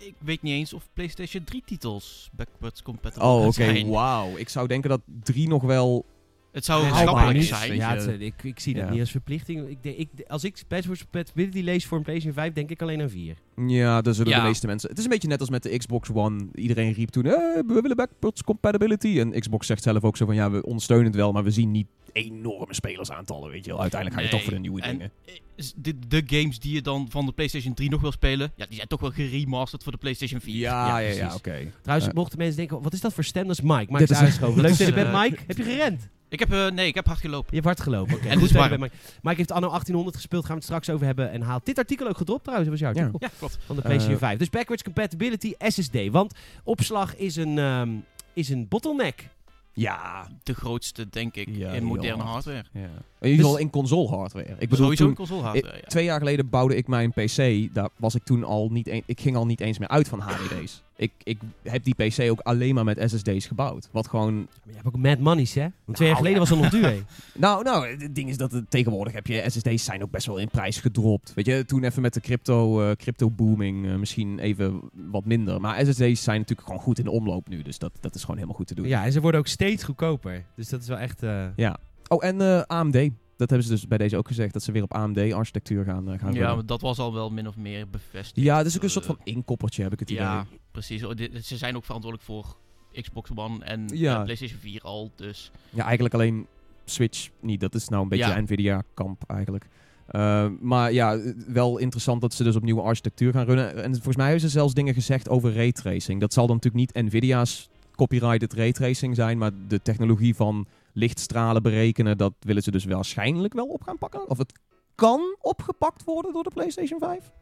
[SPEAKER 3] eh, ik weet niet eens of PlayStation 3 titels backwards compatible
[SPEAKER 2] Oh, oké.
[SPEAKER 3] gaan zijn.
[SPEAKER 2] Wauw. Ik zou denken dat 3 nog wel...
[SPEAKER 3] Het zou
[SPEAKER 2] Ja,
[SPEAKER 3] schappelijk
[SPEAKER 2] niet.
[SPEAKER 3] zijn.
[SPEAKER 2] Weet
[SPEAKER 1] Ja,
[SPEAKER 2] je.
[SPEAKER 1] het is- ik, ik zie dat
[SPEAKER 2] Ja.
[SPEAKER 1] niet als verplichting. Ik denk, ik, als ik Password Compatibility lees voor een PlayStation 5, denk ik alleen aan 4.
[SPEAKER 2] Ja, daar zullen
[SPEAKER 3] Ja.
[SPEAKER 2] de meeste mensen... Het is een beetje net als met de Xbox One. Iedereen riep toen, eh, we willen backwards compatibility. En Xbox zegt zelf ook zo van, ja, we ondersteunen het wel, maar we zien niet enorme spelersaantallen, weet je wel. Uiteindelijk ga je
[SPEAKER 3] Nee,
[SPEAKER 2] toch voor de nieuwe
[SPEAKER 3] en-
[SPEAKER 2] dingen.
[SPEAKER 3] Eh, is De, de games die je dan van de PlayStation 3 nog wil spelen, ja, die zijn toch wel geremasterd voor de PlayStation 4.
[SPEAKER 2] Ja, ja, ja,
[SPEAKER 1] precies.
[SPEAKER 2] oké.
[SPEAKER 1] Trouwens,
[SPEAKER 2] Eh.
[SPEAKER 1] mochten mensen denken, wat is dat voor stem? Dat is Mike. Mike is
[SPEAKER 2] Dit is-
[SPEAKER 1] aangeschoven. Leuk
[SPEAKER 3] dat
[SPEAKER 1] dat je
[SPEAKER 3] is,
[SPEAKER 1] bent,
[SPEAKER 3] eh,
[SPEAKER 1] Mike. Heb je gerend?
[SPEAKER 3] Ik heb, eh, nee, ik heb hard gelopen.
[SPEAKER 1] Je hebt hard gelopen. Oké.
[SPEAKER 3] En het
[SPEAKER 1] Goed
[SPEAKER 3] is
[SPEAKER 1] dat je
[SPEAKER 3] warm.
[SPEAKER 1] bent, Mike. Mike heeft anno 1800 gespeeld. Gaan we het straks over hebben. En haalt dit artikel ook gedropt trouwens. Dat was jouw
[SPEAKER 2] Ja.
[SPEAKER 1] artikel.
[SPEAKER 3] Ja, klopt.
[SPEAKER 1] Van de PlayStation
[SPEAKER 2] Eh.
[SPEAKER 1] 5. Dus backwards compatibility SSD. Want opslag is een, ehm, is een bottleneck.
[SPEAKER 2] Ja.
[SPEAKER 3] De grootste, denk ik,
[SPEAKER 2] Ja,
[SPEAKER 3] in moderne
[SPEAKER 2] heel hard.
[SPEAKER 3] hardware.
[SPEAKER 2] ja. In ieder geval in console hardware. Ik bedoel,
[SPEAKER 3] Dus Sowieso
[SPEAKER 2] toen,
[SPEAKER 3] een console hardware, ja.
[SPEAKER 2] Twee jaar geleden bouwde ik mijn PC. Daar was ik toen al niet een, ik ging al niet eens meer uit van HDD's. ik, ik heb die PC ook alleen maar met SSD's gebouwd. Wat gewoon.
[SPEAKER 1] Maar je hebt ook mad monies, hè? Want twee jaar
[SPEAKER 2] Nou,
[SPEAKER 1] geleden was dat nog duur, hè?
[SPEAKER 2] Nou, nou, het ding is dat het, tegenwoordig heb je SSD's zijn ook best wel in prijs gedropt. Weet je, toen even met de crypto, eh, crypto booming eh, misschien even wat minder. Maar SSD's zijn natuurlijk gewoon goed in de omloop nu. Dus dat, dat is gewoon helemaal goed te doen.
[SPEAKER 1] Ja, en ze worden ook steeds goedkoper. Dus dat is wel echt... eh,
[SPEAKER 2] Oh, en eh, AMD. Dat hebben ze dus bij deze ook gezegd. Dat ze weer op AMD-architectuur gaan, eh, gaan
[SPEAKER 3] Ja,
[SPEAKER 2] runnen.
[SPEAKER 3] maar dat was al wel min of meer bevestigd.
[SPEAKER 2] Ja, het is ook een soort
[SPEAKER 3] Eh,
[SPEAKER 2] van inkoppertje, heb ik het idee.
[SPEAKER 3] Ja, precies. Oh, dit- Ze zijn ook verantwoordelijk voor Xbox One en
[SPEAKER 2] Ja.
[SPEAKER 3] eh, PlayStation 4 al, dus...
[SPEAKER 2] Ja, eigenlijk alleen Switch niet. Dat is nou een beetje
[SPEAKER 3] Ja.
[SPEAKER 2] Nvidia-kamp eigenlijk. Eh, maar ja, wel interessant dat ze dus op nieuwe architectuur gaan runnen. En volgens mij hebben ze zelfs dingen gezegd over raytracing. Dat zal dan natuurlijk niet Nvidia's copyrighted raytracing zijn, maar de technologie van lichtstralen berekenen, dat willen ze dus waarschijnlijk wel op gaan pakken. Of het kan opgepakt worden door de PlayStation 5. Dat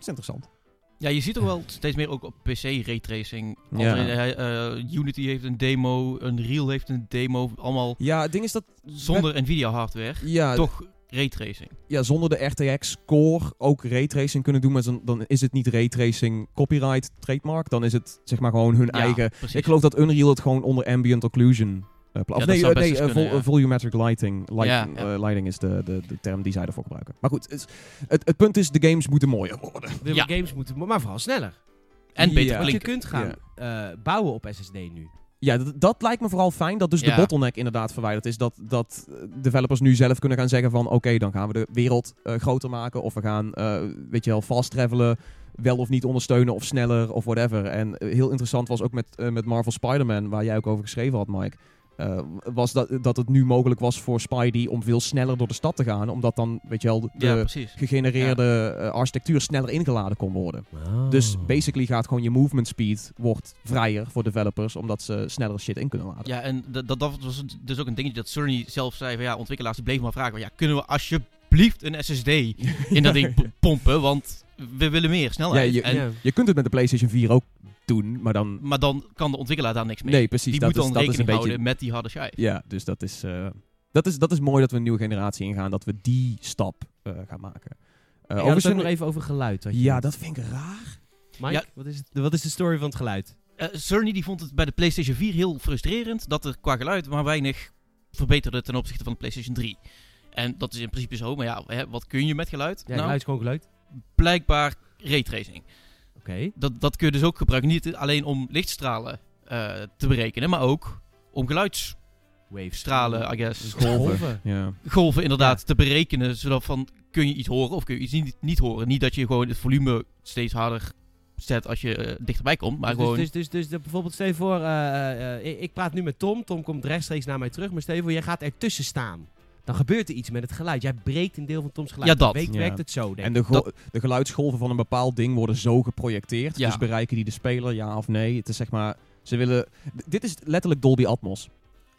[SPEAKER 2] is interessant.
[SPEAKER 3] Ja, je ziet toch wel steeds meer ook op PC raytracing.
[SPEAKER 2] Ja.
[SPEAKER 3] Andere, eh, eh, Unity heeft een demo, Unreal heeft een demo, allemaal
[SPEAKER 2] Ja, het ding is dat...
[SPEAKER 3] zonder Nvidia hardware.
[SPEAKER 2] Ja,
[SPEAKER 3] toch raytracing.
[SPEAKER 2] ja, zonder de RTX Core ook raytracing kunnen doen. Maar dan, dan is het niet raytracing copyright trademark. Dan is het zeg maar gewoon hun
[SPEAKER 3] Ja,
[SPEAKER 2] eigen...
[SPEAKER 3] precies.
[SPEAKER 2] Ik geloof dat Unreal het gewoon onder ambient occlusion... eh, pla-
[SPEAKER 3] Ja,
[SPEAKER 2] of
[SPEAKER 3] dat
[SPEAKER 2] nee,
[SPEAKER 3] zou
[SPEAKER 2] eh,
[SPEAKER 3] best
[SPEAKER 2] nee,
[SPEAKER 3] eens
[SPEAKER 2] eh,
[SPEAKER 3] kunnen,
[SPEAKER 2] vol-
[SPEAKER 3] ja.
[SPEAKER 2] eh, volumetric lighting. Light-
[SPEAKER 3] Ja, ja.
[SPEAKER 2] eh, lighting is de, de, de term die zij daarvoor gebruiken. Maar goed, het, is- het, het punt is, de games moeten mooier worden.
[SPEAKER 1] willen
[SPEAKER 3] Ja.
[SPEAKER 1] we games moeten, maar vooral sneller.
[SPEAKER 3] en beter
[SPEAKER 2] Ja.
[SPEAKER 1] Want je
[SPEAKER 3] klinken.
[SPEAKER 1] kunt gaan eh, bouwen op SSD nu.
[SPEAKER 2] Ja, dat, dat lijkt me vooral fijn. Dat dus de
[SPEAKER 3] Ja.
[SPEAKER 2] bottleneck inderdaad verwijderd is. Dat, dat eh, developers nu zelf kunnen gaan zeggen van... Oké, dan gaan we de wereld eh, groter maken. Of we gaan, eh, weet je wel, fast travelen. Wel of niet ondersteunen of sneller of whatever. En eh, heel interessant was ook met, eh, met Marvel Spider-Man... waar jij ook over geschreven had, Mike. eh, was dat, dat het nu mogelijk was voor Spidey om veel sneller door de stad te gaan. Omdat dan, weet je wel, de
[SPEAKER 3] Ja, precies.
[SPEAKER 2] gegenereerde eh, architectuur sneller ingeladen kon worden.
[SPEAKER 1] Oh.
[SPEAKER 2] Dus
[SPEAKER 3] Hmm.
[SPEAKER 2] basically gaat gewoon je movement speed wordt vrijer voor developers, omdat ze sneller shit in kunnen laden.
[SPEAKER 3] Ja, en dat, dat- dat was dus ook een dingetje dat Sony zelf zei van ja, ontwikkelaars die bleven maar vragen van ja, kunnen we alsjeblieft een SSD in dat ding p- pompen, want we willen meer snelheid.
[SPEAKER 2] Ja,
[SPEAKER 3] en,
[SPEAKER 1] Ja.
[SPEAKER 2] Je kunt het met de PlayStation 4 ook doen, maar dan...
[SPEAKER 3] Maar dan kan de ontwikkelaar daar niks mee.
[SPEAKER 2] Nee, precies.
[SPEAKER 3] die
[SPEAKER 2] dat
[SPEAKER 3] moet
[SPEAKER 2] is,
[SPEAKER 3] dan
[SPEAKER 2] dat is
[SPEAKER 3] rekening
[SPEAKER 2] een beetje...
[SPEAKER 3] houden met die harde schijf.
[SPEAKER 2] Ja, dus dat is, eh, dat, is, dat is mooi dat we een nieuwe generatie ingaan, dat we die stap eh, gaan maken. Eh,
[SPEAKER 1] ja,
[SPEAKER 2] overigens-
[SPEAKER 1] ook nog even over geluid. had je
[SPEAKER 2] ja,
[SPEAKER 1] het.
[SPEAKER 2] dat vind ik raar.
[SPEAKER 1] Mike,
[SPEAKER 3] Ja.
[SPEAKER 1] wat, is het, wat is de story van het geluid?
[SPEAKER 3] Eh, Sony die vond het bij de PlayStation 4 heel frustrerend dat er qua geluid maar weinig verbeterde ten opzichte van de PlayStation 3. En dat is in principe zo, maar ja, hè, wat kun je met geluid?
[SPEAKER 1] Ja,
[SPEAKER 3] nou,
[SPEAKER 1] geluid is gewoon geluid.
[SPEAKER 3] blijkbaar raytracing.
[SPEAKER 1] Oké.
[SPEAKER 3] Dat, dat kun je dus ook gebruiken, niet alleen om lichtstralen eh, te berekenen, maar ook om geluidsstralen,
[SPEAKER 1] Waves.
[SPEAKER 3] I guess,
[SPEAKER 1] Mm. Dus Golven.
[SPEAKER 2] Ja.
[SPEAKER 3] golven inderdaad te berekenen, zodat van kun je iets horen of kun je iets niet, niet horen. Niet dat je gewoon het volume steeds harder zet als je eh, dichterbij komt, maar
[SPEAKER 1] dus,
[SPEAKER 3] gewoon...
[SPEAKER 1] dus, dus, dus, dus bijvoorbeeld, stel je voor, eh, eh, eh, ik, ik praat nu met Tom. Tom komt rechtstreeks naar mij terug. Maar stel je voor, jij gaat ertussen staan. dan gebeurt er iets met het geluid. Jij breekt een deel van Toms geluid.
[SPEAKER 3] Ja, dat.
[SPEAKER 1] Weet,
[SPEAKER 2] Ja.
[SPEAKER 1] Werkt het zo, denk ik.
[SPEAKER 2] En de, go- de geluidsgolven van een bepaald ding worden zo geprojecteerd.
[SPEAKER 3] Ja.
[SPEAKER 2] Dus bereiken die de speler, ja of nee. Het is zeg maar, ze willen... D- dit is letterlijk Dolby Atmos.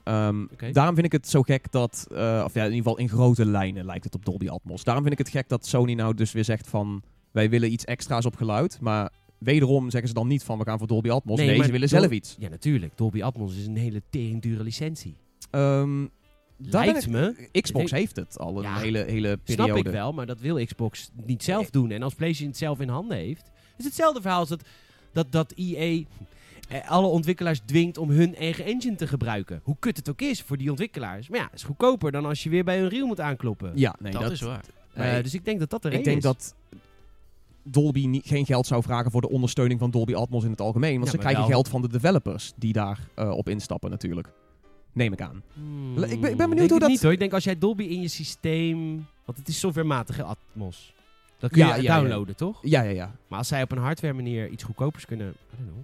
[SPEAKER 2] Ehm,
[SPEAKER 1] Oké.
[SPEAKER 2] Daarom vind ik het zo gek dat, eh, of ja, in ieder geval in grote lijnen lijkt het op Dolby Atmos. Daarom vind ik het gek dat Sony nou dus weer zegt van, wij willen iets extra's op geluid. Maar wederom zeggen ze dan niet van, we gaan voor Dolby Atmos.
[SPEAKER 1] Nee,
[SPEAKER 2] Nee,
[SPEAKER 1] maar
[SPEAKER 2] ze willen
[SPEAKER 1] Dol-
[SPEAKER 2] zelf iets.
[SPEAKER 1] Ja, natuurlijk. Dolby Atmos is een hele teringdure licentie.
[SPEAKER 2] Ehm, daar ben
[SPEAKER 1] Lijkt me.
[SPEAKER 2] ik- Xbox
[SPEAKER 1] Ik-
[SPEAKER 2] heeft het al een
[SPEAKER 1] Ja,
[SPEAKER 2] hele, hele periode.
[SPEAKER 1] Snap ik wel, maar dat wil Xbox niet zelf doen. En als PlayStation het zelf in handen heeft, is het hetzelfde verhaal als dat, dat, dat EA eh, alle ontwikkelaars dwingt om hun eigen engine te gebruiken. Hoe kut het ook is voor die ontwikkelaars. Maar ja, het is goedkoper dan als je weer bij hun reel moet aankloppen.
[SPEAKER 2] Ja, nee,
[SPEAKER 3] dat,
[SPEAKER 2] dat
[SPEAKER 3] is waar.
[SPEAKER 1] Eh,
[SPEAKER 2] nee.
[SPEAKER 1] dus ik denk dat dat de
[SPEAKER 2] Ik
[SPEAKER 1] reden
[SPEAKER 2] denk
[SPEAKER 1] is.
[SPEAKER 2] dat Dolby niet, geen geld zou vragen voor de ondersteuning van Dolby Atmos in het algemeen. Want
[SPEAKER 1] Ja,
[SPEAKER 2] ze
[SPEAKER 1] maar
[SPEAKER 2] krijgen
[SPEAKER 1] wel.
[SPEAKER 2] geld van de developers die daarop op instappen natuurlijk. Neem ik aan.
[SPEAKER 1] Hmm,
[SPEAKER 2] Le- ik ben- ik ben benieuwd
[SPEAKER 1] denk
[SPEAKER 2] hoe
[SPEAKER 1] het
[SPEAKER 2] dat-
[SPEAKER 1] Niet, hoor. Ik denk als jij Dolby in je systeem... Want het is softwarematige Atmos. Dat kun
[SPEAKER 2] Ja,
[SPEAKER 1] je
[SPEAKER 2] ja, ja.
[SPEAKER 1] downloaden, toch?
[SPEAKER 2] Ja, ja, ja.
[SPEAKER 1] Maar als zij op een hardware manier iets goedkopers kunnen... I don't know.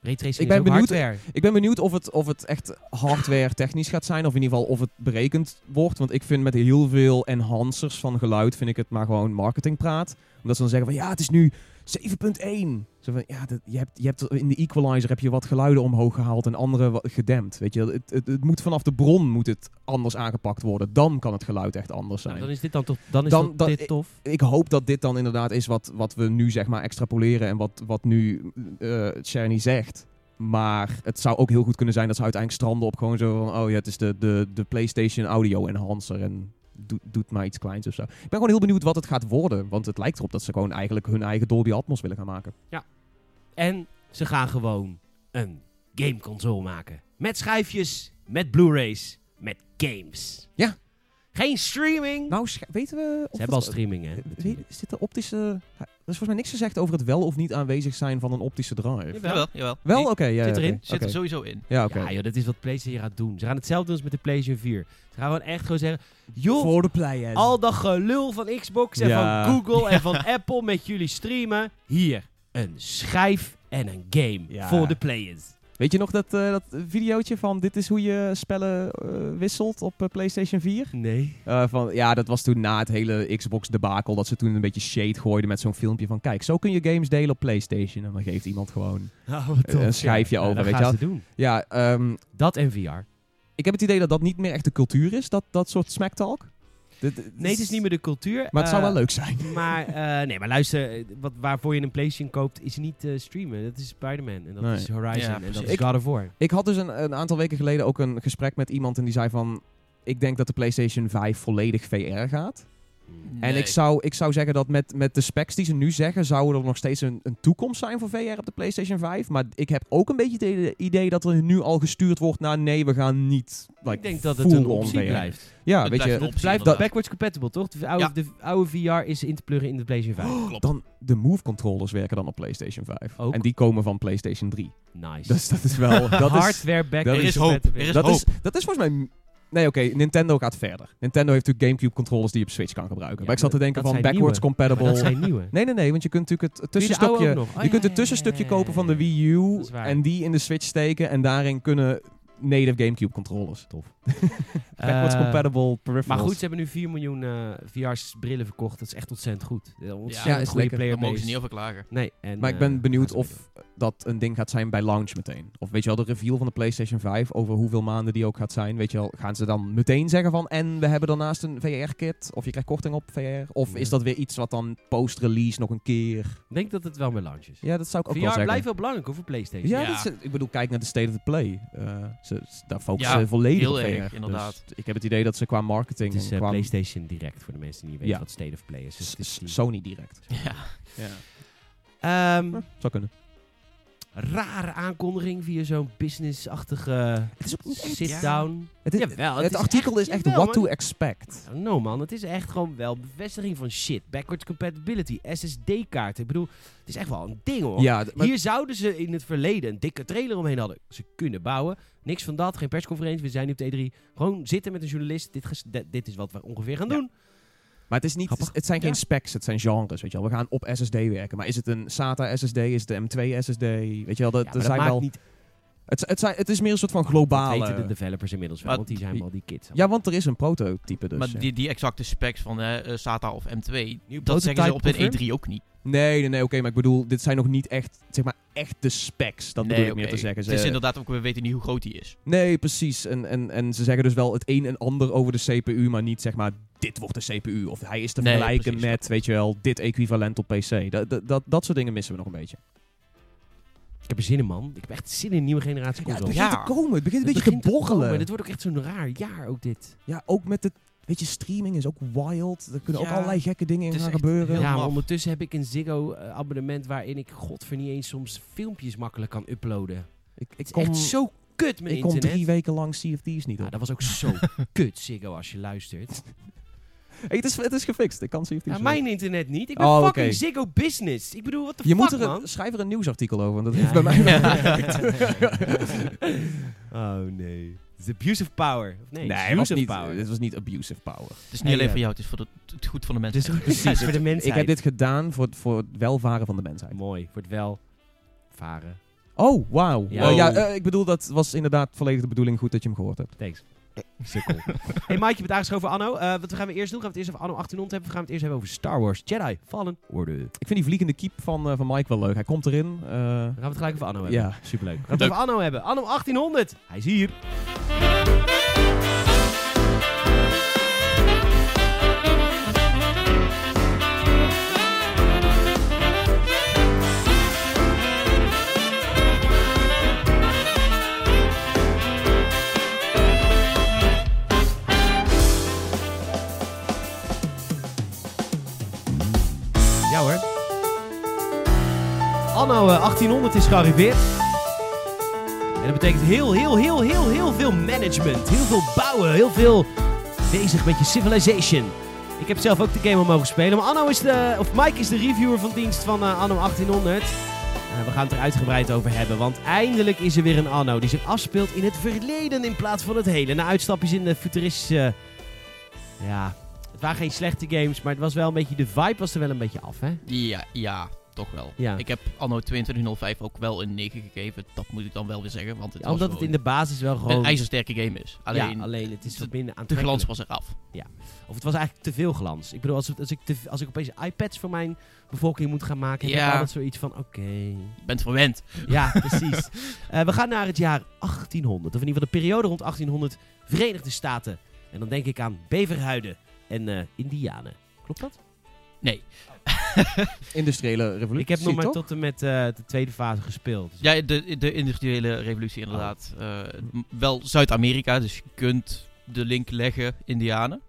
[SPEAKER 1] Raytracing
[SPEAKER 2] Ik ben
[SPEAKER 1] is ook
[SPEAKER 2] benieuwd-
[SPEAKER 1] hardware.
[SPEAKER 2] Ik ben benieuwd of het, of het echt hardware technisch gaat zijn. Of in ieder geval of het berekend wordt. Want ik vind met heel veel enhancers van geluid vind ik het maar gewoon marketingpraat. Omdat ze dan zeggen van ja, het is nu 7.1. Zo van, ja, dat, je hebt, je hebt, in de equalizer heb je wat geluiden omhoog gehaald en andere wat gedempt. Weet je, het, het, het moet vanaf de bron moet het anders aangepakt worden. Dan kan het geluid echt anders zijn.
[SPEAKER 1] Nou, dan is dit dan toch... Dan is
[SPEAKER 2] Dan-
[SPEAKER 1] dat
[SPEAKER 2] dan-
[SPEAKER 1] dit tof.
[SPEAKER 2] ik hoop dat dit dan inderdaad is wat, wat we nu zeg maar extrapoleren en wat, wat nu eh Cerny zegt. Maar het zou ook heel goed kunnen zijn dat ze uiteindelijk stranden op gewoon zo van... Oh ja, het is de, de, de PlayStation Audio Enhancer en doet, doet maar iets kleins of zo. Ik ben gewoon heel benieuwd wat het gaat worden. Want het lijkt erop dat ze gewoon eigenlijk hun eigen Dolby Atmos willen gaan maken.
[SPEAKER 1] En ze gaan gewoon een gameconsole maken. Met schijfjes, met Blu-rays, met games.
[SPEAKER 2] Ja.
[SPEAKER 1] Geen streaming.
[SPEAKER 2] Nou, sch- weten we...
[SPEAKER 1] ze hebben al streaming, hè? natuurlijk.
[SPEAKER 2] Zit er optische... Er is volgens mij niks gezegd over het wel of niet aanwezig zijn van een optische drive.
[SPEAKER 1] Jawel.
[SPEAKER 3] Jawel, jawel.
[SPEAKER 2] Wel?
[SPEAKER 3] Die
[SPEAKER 2] Oké. ja,
[SPEAKER 1] Zit
[SPEAKER 2] ja,
[SPEAKER 1] erin?
[SPEAKER 2] oké.
[SPEAKER 3] zit er
[SPEAKER 2] Oké.
[SPEAKER 3] sowieso in.
[SPEAKER 2] Ja, oké.
[SPEAKER 1] Ja, joh, dat is wat PlayStation gaat doen. Ze gaan hetzelfde doen als met de PlayStation 4. Ze gaan gewoon echt gewoon zeggen... Joh,
[SPEAKER 2] Voor de players.
[SPEAKER 1] al dat gelul van Xbox en
[SPEAKER 2] Ja.
[SPEAKER 1] van Google en van Apple met jullie streamen. Hier, een schijf en een game
[SPEAKER 2] Ja.
[SPEAKER 1] voor de players.
[SPEAKER 2] Weet je nog dat, eh dat videootje van dit is hoe je spellen eh, wisselt op eh, PlayStation 4?
[SPEAKER 1] Nee.
[SPEAKER 2] Eh, van, ja, dat was toen na het hele Xbox debakel dat ze toen een beetje shade gooiden met zo'n filmpje van kijk, zo kun je games delen op PlayStation. En dan geeft iemand gewoon...
[SPEAKER 1] Oh,
[SPEAKER 2] tof. Een schijfje over,
[SPEAKER 1] dat
[SPEAKER 2] weet
[SPEAKER 1] gaan
[SPEAKER 2] je
[SPEAKER 1] ze doen.
[SPEAKER 2] Ja, ehm,
[SPEAKER 1] Dat en VR.
[SPEAKER 2] ik heb het idee dat dat niet meer echt de cultuur is, dat, dat soort smacktalk. Dit- dit-
[SPEAKER 1] Nee, het is niet meer de cultuur.
[SPEAKER 2] Maar het zou
[SPEAKER 1] eh,
[SPEAKER 2] wel leuk zijn.
[SPEAKER 1] Maar, eh, nee, maar luister, eh, wat, waarvoor je een PlayStation koopt, is niet eh, streamen. Dat is Spider-Man en dat
[SPEAKER 2] Nee.
[SPEAKER 1] is Horizon
[SPEAKER 3] Ja,
[SPEAKER 1] en dat
[SPEAKER 3] precies.
[SPEAKER 1] is God of War.
[SPEAKER 2] Ik had dus een, een aantal weken geleden ook een gesprek met iemand en die zei van... Ik denk dat de PlayStation 5 volledig VR gaat. En
[SPEAKER 3] Nee.
[SPEAKER 2] ik zou, ik zou zeggen dat met, met de specs die ze nu zeggen, zou er nog steeds een, een toekomst zijn voor VR op de PlayStation 5. Maar ik heb ook een beetje het idee- idee dat er nu al gestuurd wordt naar nee, we gaan niet. Like,
[SPEAKER 1] ik denk dat het
[SPEAKER 2] full
[SPEAKER 1] een
[SPEAKER 2] on
[SPEAKER 1] optie
[SPEAKER 2] VR.
[SPEAKER 1] blijft.
[SPEAKER 2] Ja,
[SPEAKER 3] Het
[SPEAKER 2] weet
[SPEAKER 3] blijft
[SPEAKER 2] je,
[SPEAKER 3] een
[SPEAKER 1] Het
[SPEAKER 3] optie,
[SPEAKER 1] blijft
[SPEAKER 3] inderdaad.
[SPEAKER 1] backwards compatible, toch? De oude,
[SPEAKER 3] Ja.
[SPEAKER 1] de oude VR is in te pluggen in de PlayStation 5.
[SPEAKER 3] Oh, Klopt.
[SPEAKER 2] dan de Move controllers werken dan op PlayStation 5.
[SPEAKER 1] Ook.
[SPEAKER 2] En die komen van PlayStation 3.
[SPEAKER 1] Nice.
[SPEAKER 2] Dus dat is wel. dat is,
[SPEAKER 1] Hardware backwards
[SPEAKER 2] Er
[SPEAKER 3] is hoop.
[SPEAKER 1] compatible.
[SPEAKER 3] Er is
[SPEAKER 2] dat,
[SPEAKER 3] hoop.
[SPEAKER 2] is, dat is volgens mij. Nee, oké, Nintendo gaat verder. Nintendo heeft natuurlijk GameCube controllers die je op Switch kan gebruiken.
[SPEAKER 1] Ja,
[SPEAKER 2] maar ik zat te
[SPEAKER 1] maar
[SPEAKER 2] denken
[SPEAKER 1] dat
[SPEAKER 2] van
[SPEAKER 1] zijn
[SPEAKER 2] backwards
[SPEAKER 1] nieuwe. Maar
[SPEAKER 2] compatible.
[SPEAKER 1] dat zijn nieuwe.
[SPEAKER 2] Nee, nee, nee, want je kunt natuurlijk het
[SPEAKER 1] Kun je de oude
[SPEAKER 2] tussenstukje.
[SPEAKER 1] ook nog? Oh,
[SPEAKER 2] je
[SPEAKER 1] ja,
[SPEAKER 2] kunt
[SPEAKER 1] ja, ja,
[SPEAKER 2] het tussenstukje
[SPEAKER 1] ja, ja,
[SPEAKER 2] kopen van de
[SPEAKER 1] ja.
[SPEAKER 2] Wii U
[SPEAKER 1] Dat is waar.
[SPEAKER 2] en die in de Switch steken en daarin kunnen native GameCube controllers. Tof. Backwards
[SPEAKER 1] Eh,
[SPEAKER 2] compatible
[SPEAKER 1] Maar
[SPEAKER 2] peripherals.
[SPEAKER 1] goed, ze hebben nu 4 miljoen eh, VR-brillen verkocht. Dat is echt ontzettend goed. Eh, Ontzettend
[SPEAKER 2] Ja, is
[SPEAKER 1] goede
[SPEAKER 2] lekker.
[SPEAKER 1] player
[SPEAKER 3] Daar mogen ze niet
[SPEAKER 1] base.
[SPEAKER 3] over klagen.
[SPEAKER 1] Nee, en,
[SPEAKER 2] maar ik
[SPEAKER 1] eh,
[SPEAKER 2] ben benieuwd
[SPEAKER 1] gaan ze
[SPEAKER 2] of dat een ding gaat zijn bij launch meteen. Of weet je wel, de reveal van de PlayStation 5 over hoeveel maanden die ook gaat zijn. Weet je wel, gaan ze dan meteen zeggen van en we hebben daarnaast een VR-kit of je krijgt korting op VR. Of
[SPEAKER 1] Ja.
[SPEAKER 2] is dat weer iets wat dan post-release nog een keer.
[SPEAKER 1] Ik denk dat het wel met launch is.
[SPEAKER 2] Ja, dat zou ik ook wel
[SPEAKER 1] VR
[SPEAKER 2] zeggen.
[SPEAKER 1] blijft wel belangrijk hoor, voor PlayStation.
[SPEAKER 2] Ja,
[SPEAKER 3] Ja.
[SPEAKER 2] dat is- ik bedoel, kijk naar de State of the Play. Eh, ze, ze- daar focussen
[SPEAKER 3] Ja,
[SPEAKER 2] ze volledig
[SPEAKER 3] heel
[SPEAKER 2] op
[SPEAKER 3] erg,
[SPEAKER 2] VR. Dus
[SPEAKER 3] inderdaad.
[SPEAKER 2] ik heb het idee dat ze qua marketing...
[SPEAKER 1] Het is eh,
[SPEAKER 2] en qua
[SPEAKER 1] PlayStation Direct voor de mensen die niet weten
[SPEAKER 2] Ja.
[SPEAKER 1] wat State of Play is. Dus
[SPEAKER 2] s-
[SPEAKER 1] het is
[SPEAKER 2] s-
[SPEAKER 1] die-
[SPEAKER 2] Sony direct.
[SPEAKER 3] Ja.
[SPEAKER 1] Ehm,
[SPEAKER 2] Hm, zou kunnen.
[SPEAKER 1] rare aankondiging via zo'n business-achtige
[SPEAKER 2] Het is ook niet echt-
[SPEAKER 1] sit-down.
[SPEAKER 2] Het, is-
[SPEAKER 1] Jawel,
[SPEAKER 2] het
[SPEAKER 1] het is
[SPEAKER 2] artikel is echt
[SPEAKER 1] jawel,
[SPEAKER 2] what
[SPEAKER 1] maar-
[SPEAKER 2] to expect.
[SPEAKER 1] No man, het is echt gewoon wel bevestiging van shit. Backwards compatibility, SSD-kaarten. Ik bedoel, het is echt wel een ding hoor.
[SPEAKER 2] Ja, d- maar-
[SPEAKER 1] Hier zouden ze in het verleden een dikke trailer omheen hadden. Ze kunnen bouwen. Niks van dat. Geen persconferentie. We zijn nu op de E3. Gewoon zitten met een journalist. Dit, ges- d- dit is wat we ongeveer gaan
[SPEAKER 2] Ja.
[SPEAKER 1] doen.
[SPEAKER 2] maar het, is niet,
[SPEAKER 1] Grappig.
[SPEAKER 2] het zijn geen
[SPEAKER 1] Ja.
[SPEAKER 2] specs, het zijn genres. Weet je wel. We gaan op SSD werken. Maar is het een SATA SSD? Is het een M2 SSD? Weet je wel,
[SPEAKER 1] Ja,
[SPEAKER 2] dat,
[SPEAKER 1] maar
[SPEAKER 2] er
[SPEAKER 1] dat
[SPEAKER 2] zijn
[SPEAKER 1] maakt
[SPEAKER 2] wel...
[SPEAKER 1] niet
[SPEAKER 2] Het, het, zijn- het is meer een soort van
[SPEAKER 1] Dat weten de
[SPEAKER 2] globale...
[SPEAKER 1] developers inmiddels wel,
[SPEAKER 3] Maar
[SPEAKER 1] want die zijn wel die kids.
[SPEAKER 2] Ja, want er is een prototype dus.
[SPEAKER 3] maar
[SPEAKER 2] ja.
[SPEAKER 3] die, die exacte specs van eh, eh, SATA of M2, dat
[SPEAKER 2] prototype
[SPEAKER 3] zeggen ze op de
[SPEAKER 2] confirmed?
[SPEAKER 3] E3 ook niet.
[SPEAKER 2] Nee, nee, nee, oké, maar ik bedoel, dit zijn nog niet echt, zeg maar, echt de specs. Dat
[SPEAKER 3] nee,
[SPEAKER 2] bedoel ik
[SPEAKER 3] oké.
[SPEAKER 2] meer te zeggen.
[SPEAKER 1] Dus
[SPEAKER 3] Het is
[SPEAKER 2] Ze-
[SPEAKER 3] inderdaad ook, we weten niet hoe groot die is.
[SPEAKER 2] Nee, precies. En, en, en ze zeggen dus wel het een en ander over de CPU, maar niet zeg maar, dit wordt de CPU. Of hij is te
[SPEAKER 3] Nee,
[SPEAKER 2] vergelijken
[SPEAKER 3] precies,
[SPEAKER 2] met, weet je wel, dit equivalent op PC. Dat, dat, dat, dat soort dingen missen we nog een beetje.
[SPEAKER 1] Ik heb er zin in, man. Ik heb echt zin in een nieuwe generatie
[SPEAKER 2] Ja, het
[SPEAKER 1] consoles.
[SPEAKER 2] begint
[SPEAKER 3] Ja.
[SPEAKER 2] te komen. Het begint een
[SPEAKER 1] Het
[SPEAKER 2] beetje
[SPEAKER 1] begint te
[SPEAKER 2] te borrelen.
[SPEAKER 1] komen. Dit wordt ook echt zo'n raar jaar, ook dit.
[SPEAKER 2] Ja, ook met het, weet je, streaming is ook wild. Er kunnen ook
[SPEAKER 3] Ja,
[SPEAKER 2] allerlei gekke dingen in
[SPEAKER 3] het is
[SPEAKER 2] gaan
[SPEAKER 3] echt
[SPEAKER 2] gebeuren.
[SPEAKER 1] Ja,
[SPEAKER 3] heel
[SPEAKER 1] maar
[SPEAKER 3] maf.
[SPEAKER 1] ondertussen heb ik een Ziggo-abonnement waarin ik godver niet eens soms filmpjes makkelijk kan uploaden.
[SPEAKER 2] ik, ik
[SPEAKER 1] Het is echt zo kut, mijn
[SPEAKER 2] ik kom
[SPEAKER 1] internet.
[SPEAKER 2] drie weken lang CFD's niet
[SPEAKER 1] Ja,
[SPEAKER 2] op.
[SPEAKER 1] dat was ook zo kut, Ziggo, als je luistert.
[SPEAKER 2] Hey, het, is, het is gefixt. Ik kan CFD's
[SPEAKER 1] Ja,
[SPEAKER 2] wel.
[SPEAKER 1] mijn internet niet. Ik ben
[SPEAKER 2] Oh,
[SPEAKER 1] fucking
[SPEAKER 2] oké.
[SPEAKER 1] Ziggo Business. Ik bedoel, wat de
[SPEAKER 2] Je
[SPEAKER 1] fuck,
[SPEAKER 2] moet er
[SPEAKER 1] man?
[SPEAKER 2] een, schrijf er een nieuwsartikel over, want dat
[SPEAKER 1] Ja.
[SPEAKER 2] heeft bij mij...
[SPEAKER 3] Ja.
[SPEAKER 1] oh, nee. Het is abuse of power. Of nee,
[SPEAKER 2] het
[SPEAKER 1] abuse
[SPEAKER 2] was
[SPEAKER 1] of
[SPEAKER 2] niet,
[SPEAKER 1] power.
[SPEAKER 2] het was niet abusive power.
[SPEAKER 3] Het is niet
[SPEAKER 1] Nee,
[SPEAKER 3] alleen
[SPEAKER 1] ja.
[SPEAKER 3] voor jou, het is voor de- het goed van de
[SPEAKER 1] Het
[SPEAKER 3] mensen.
[SPEAKER 1] is ook Dus precies voor de mensheid.
[SPEAKER 2] Ik heb dit gedaan voor het, voor het welvaren van de mensheid.
[SPEAKER 1] Mooi. Wordt wel varen.
[SPEAKER 2] Oh, wauw.
[SPEAKER 1] Ja.
[SPEAKER 2] Ja, ja eh, ik bedoel, dat was inderdaad volledig de bedoeling. Goed dat je hem gehoord hebt.
[SPEAKER 1] Thanks. Sukkel. hey, Mike, je bent aangeschoven Anno. Eh, wat gaan we eerst doen? Gaan we het eerst over Anno 1800 hebben? Of gaan we het eerst hebben over Star Wars Jedi Fallen Order? Dan
[SPEAKER 2] Ik vind die vliegende keep van, eh, van Mike wel leuk. Hij komt erin. eh,
[SPEAKER 1] gaan we het gelijk over Anno hebben.
[SPEAKER 2] ja,
[SPEAKER 1] Superleuk. Gaan we het over Anno hebben. Anno 1800. Hij is hier. Ja hoor. Anno eh, 1800 is gearriveerd. En dat betekent heel, heel, heel, heel, heel veel management. Heel veel bouwen. Heel veel bezig met je civilization. Ik heb zelf ook de game al mogen spelen. Maar Anno is de, of Mike is de reviewer van dienst van eh, Anno 1800. Eh, we gaan het er uitgebreid over hebben. Want eindelijk is er weer een Anno die zich afspeelt in het verleden in plaats van het heden. Na uitstapjes in de futuristische... Ja, het waren geen slechte games. Maar het was wel een beetje... De vibe was er wel een beetje af, hè?
[SPEAKER 3] Ja, ja, toch wel.
[SPEAKER 1] Ja.
[SPEAKER 3] Ik heb anno 2205 ook wel een 9 gegeven. Dat moet ik dan wel weer zeggen, want het
[SPEAKER 1] Ja,
[SPEAKER 3] was
[SPEAKER 1] omdat het in
[SPEAKER 3] gewoon
[SPEAKER 1] de basis wel gewoon...
[SPEAKER 3] een ijzersterke game is. Alleen,
[SPEAKER 1] ja, alleen het is wat minder
[SPEAKER 3] de
[SPEAKER 1] aantrekkelijk.
[SPEAKER 3] glans was eraf.
[SPEAKER 1] Of het was eigenlijk te veel glans. Ik bedoel, als, als, ik, te, als ik opeens iPads voor mijn bevolking moet gaan maken, heb
[SPEAKER 3] Ja.
[SPEAKER 1] ik altijd zoiets van, oké.
[SPEAKER 3] Je bent verwend.
[SPEAKER 1] Ja, precies. Eh, we gaan naar het jaar 1800. Of in ieder geval de periode rond 1800, Verenigde Staten. En dan denk ik aan beverhuiden en eh, indianen. Klopt dat?
[SPEAKER 3] Nee.
[SPEAKER 2] industriële revolutie.
[SPEAKER 1] ik heb nog maar
[SPEAKER 2] toch?
[SPEAKER 1] tot en met eh, de tweede fase gespeeld. Dus
[SPEAKER 3] Ja, de, de industriële revolutie inderdaad. Eh, m- wel Zuid-Amerika, dus je kunt de link leggen, Indianen.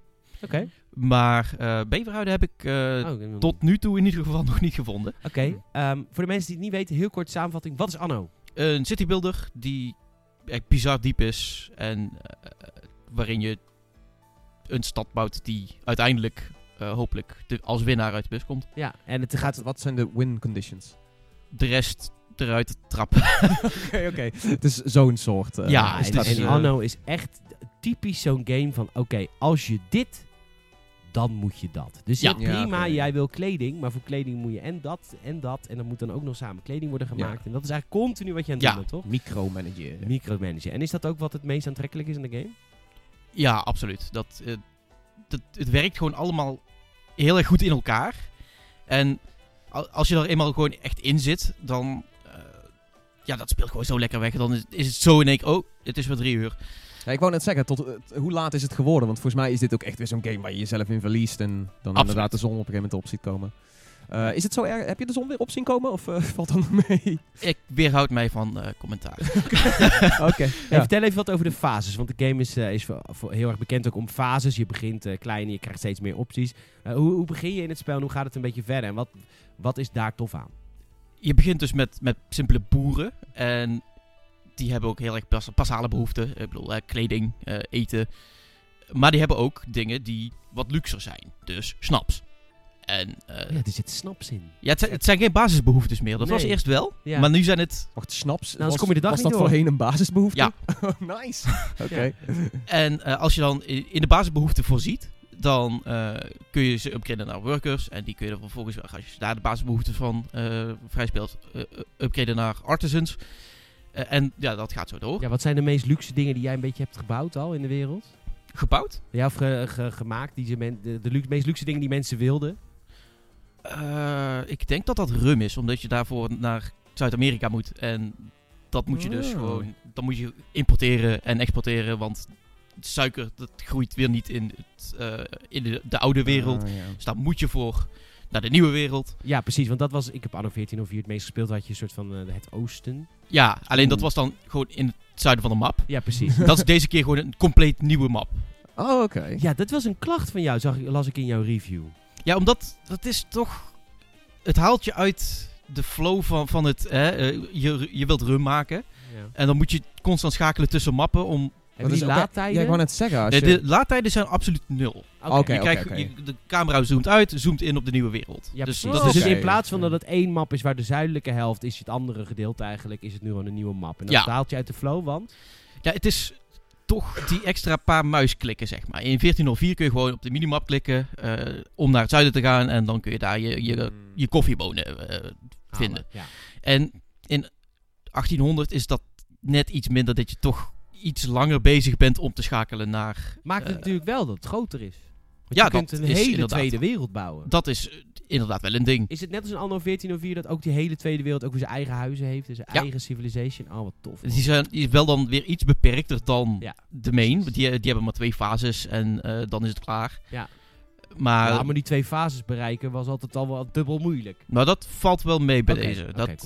[SPEAKER 1] Oké.
[SPEAKER 3] Maar eh Beverhuiden heb ik eh,
[SPEAKER 1] Oh, ik heb nog
[SPEAKER 3] tot nu toe in ieder geval nog niet gevonden.
[SPEAKER 1] niet. Oké. ehm, voor de mensen die het niet weten, heel kort samenvatting. Wat is Anno?
[SPEAKER 3] Een citybuilder die echt bizar diep is en eh, eh, waarin je een stad bouwt die uiteindelijk eh, hopelijk de- als winnaar uit de bus komt.
[SPEAKER 1] Ja, en het
[SPEAKER 2] Gaat,
[SPEAKER 1] gaat...
[SPEAKER 2] wat zijn de win conditions?
[SPEAKER 3] De rest eruit trappen.
[SPEAKER 2] Oké, oké. Het is zo'n soort. eh,
[SPEAKER 3] Ja,
[SPEAKER 1] en,
[SPEAKER 3] het is-
[SPEAKER 2] strategie.
[SPEAKER 1] en
[SPEAKER 3] eh,
[SPEAKER 1] Anno is echt typisch zo'n game van... Oké, als je dit, dan moet je dat. Dus
[SPEAKER 3] Ja.
[SPEAKER 1] ja, prima,
[SPEAKER 2] Ja, oké.
[SPEAKER 1] jij wil kleding. Maar voor kleding moet je en dat en dat. En dan moet dan ook nog samen kleding worden gemaakt. En dat is eigenlijk continu wat je aan het
[SPEAKER 3] Ja.
[SPEAKER 1] doen bent, toch?
[SPEAKER 2] micromanager.
[SPEAKER 1] Micromanagen. En is dat ook wat het meest aantrekkelijk is in de game?
[SPEAKER 3] ja, absoluut. Dat, eh, dat, het werkt gewoon allemaal heel erg goed in elkaar. En al- als je er eenmaal gewoon echt in zit, dan... eh, ja, dat speelt gewoon zo lekker weg. Dan is, is het zo in één keer... Oh, het is weer drie uur.
[SPEAKER 2] Ja, ik wou net zeggen, tot, eh, t- hoe laat is het geworden? Want volgens mij is dit ook echt weer zo'n game waar je jezelf in verliest en dan inderdaad de zon op een gegeven moment op ziet komen. Eh, is het zo erg? Heb je de zon weer op zien komen of eh, valt dat nog mee?
[SPEAKER 3] Ik weerhoud mij van eh, commentaar.
[SPEAKER 2] Oké.
[SPEAKER 1] Hey,
[SPEAKER 2] ja.
[SPEAKER 1] vertel even wat over de fases. Want de game is, eh, is voor- voor heel erg bekend ook om fases. Je begint eh, klein en je krijgt steeds meer opties. Eh, hoe, hoe begin je in het spel en hoe gaat het een beetje verder? En wat, wat is daar tof aan?
[SPEAKER 3] je begint dus met, met simpele boeren. En die hebben ook heel erg pas- basale behoeften. Ik bedoel, eh, kleding, eh, eten. Maar die hebben ook dingen die wat luxer zijn. Dus snaps. En eh,
[SPEAKER 1] Ja, er zit snaps in.
[SPEAKER 3] ja, het, zijn, het zijn geen basisbehoeftes meer. Dat was
[SPEAKER 1] Nee.
[SPEAKER 3] eerst wel.
[SPEAKER 1] Ja.
[SPEAKER 3] Maar nu zijn het.
[SPEAKER 2] Wacht,
[SPEAKER 1] anders
[SPEAKER 2] snaps. was,
[SPEAKER 1] Nou, kom je de dag
[SPEAKER 2] was
[SPEAKER 1] niet
[SPEAKER 2] dat
[SPEAKER 1] door.
[SPEAKER 2] voorheen een basisbehoefte? Oh,
[SPEAKER 3] Ja.
[SPEAKER 2] nice. Oké.
[SPEAKER 3] En eh, als je dan in, in de basisbehoeften voorziet. Dan eh, kun je ze upgraden naar workers. En die kun je dan vervolgens, als je daar de basisbehoeften van eh vrij speelt, eh, upgraden naar artisans. Eh, en ja, dat gaat zo door.
[SPEAKER 1] Ja, wat zijn de meest luxe dingen die jij een beetje hebt gebouwd al in de wereld?
[SPEAKER 3] Gebouwd?
[SPEAKER 1] Ja, of ge- ge- gemaakt, die ze men- de, de lu- meest luxe dingen die mensen wilden.
[SPEAKER 3] Eh, ik denk dat dat rum is, omdat je daarvoor naar Zuid-Amerika moet. En dat moet je dus
[SPEAKER 1] Oh.
[SPEAKER 3] gewoon... Dan moet je importeren en exporteren, want suiker dat groeit weer niet in, het, eh, in de, de oude wereld.
[SPEAKER 2] Ah, ja.
[SPEAKER 3] Dus daar moet je voor naar de nieuwe wereld.
[SPEAKER 1] Ja, precies, want dat was, ik heb anno 1404 het meest gespeeld, had je een soort van eh, het oosten.
[SPEAKER 3] Ja, alleen dat
[SPEAKER 2] Oeh.
[SPEAKER 3] was dan gewoon in het zuiden van de map.
[SPEAKER 1] Ja, precies.
[SPEAKER 3] Dat is deze keer gewoon een compleet nieuwe map.
[SPEAKER 2] Oh, oké.
[SPEAKER 1] ja, dat was een klacht van jou, zag, ik- las ik in jouw review.
[SPEAKER 3] Ja, omdat dat is toch. Het haalt je uit de flow van, van het. Hè, eh, je, je wilt run maken.
[SPEAKER 1] Ja.
[SPEAKER 3] En dan moet je constant schakelen tussen mappen. Om,
[SPEAKER 2] Dat
[SPEAKER 1] Hebben
[SPEAKER 2] is
[SPEAKER 1] die
[SPEAKER 2] ook- Ja,
[SPEAKER 1] laadtijden?
[SPEAKER 2] ik wou net zeggen. Als
[SPEAKER 3] Eh,
[SPEAKER 2] je,
[SPEAKER 3] de laadtijden zijn absoluut nul.
[SPEAKER 1] Oké.
[SPEAKER 2] Oké.
[SPEAKER 3] je krijgt,
[SPEAKER 2] oké.
[SPEAKER 3] je- de camera zoomt uit, zoomt in op de nieuwe wereld.
[SPEAKER 1] Ja,
[SPEAKER 3] dus
[SPEAKER 1] precies.
[SPEAKER 3] dat
[SPEAKER 1] dus
[SPEAKER 3] is,
[SPEAKER 2] oké.
[SPEAKER 1] in plaats van dat het één map is waar de zuidelijke helft is, het andere gedeelte eigenlijk, is het nu gewoon een nieuwe map. En dat
[SPEAKER 3] Ja.
[SPEAKER 1] haalt je uit de flow, want...
[SPEAKER 3] ja, het is toch die extra paar muisklikken, zeg maar. In 1404 kun je gewoon op de minimap klikken eh, om naar het zuiden te gaan. En dan kun je daar je, je, je koffiebonen eh, Vinden.
[SPEAKER 1] Ah, Ja.
[SPEAKER 3] En in 1800 is dat net iets minder dat je toch iets langer bezig bent om te schakelen naar.
[SPEAKER 1] Maakt het
[SPEAKER 3] Eh,
[SPEAKER 1] natuurlijk wel dat het groter is. Want
[SPEAKER 3] ja,
[SPEAKER 1] je kunt
[SPEAKER 3] dat
[SPEAKER 1] een
[SPEAKER 3] is
[SPEAKER 1] hele
[SPEAKER 3] inderdaad.
[SPEAKER 1] tweede wereld bouwen.
[SPEAKER 3] Dat is eh, inderdaad wel een ding.
[SPEAKER 1] Is het net als in anno 1404 dat ook die hele Tweede Wereld ook weer zijn eigen huizen heeft en zijn
[SPEAKER 3] Ja.
[SPEAKER 1] eigen civilization? Oh, wat tof. man.
[SPEAKER 3] Die, zijn, die is wel dan weer iets beperkter dan
[SPEAKER 1] Ja.
[SPEAKER 3] de main. Want die, die hebben maar twee fases en eh, dan is het klaar.
[SPEAKER 1] Ja.
[SPEAKER 3] Maar,
[SPEAKER 2] Ah,
[SPEAKER 1] Ja, maar die twee fases bereiken was altijd al wel dubbel moeilijk.
[SPEAKER 3] nou, dat valt wel mee bij
[SPEAKER 1] Oké,
[SPEAKER 3] deze.
[SPEAKER 1] oké,
[SPEAKER 3] Dat, eh,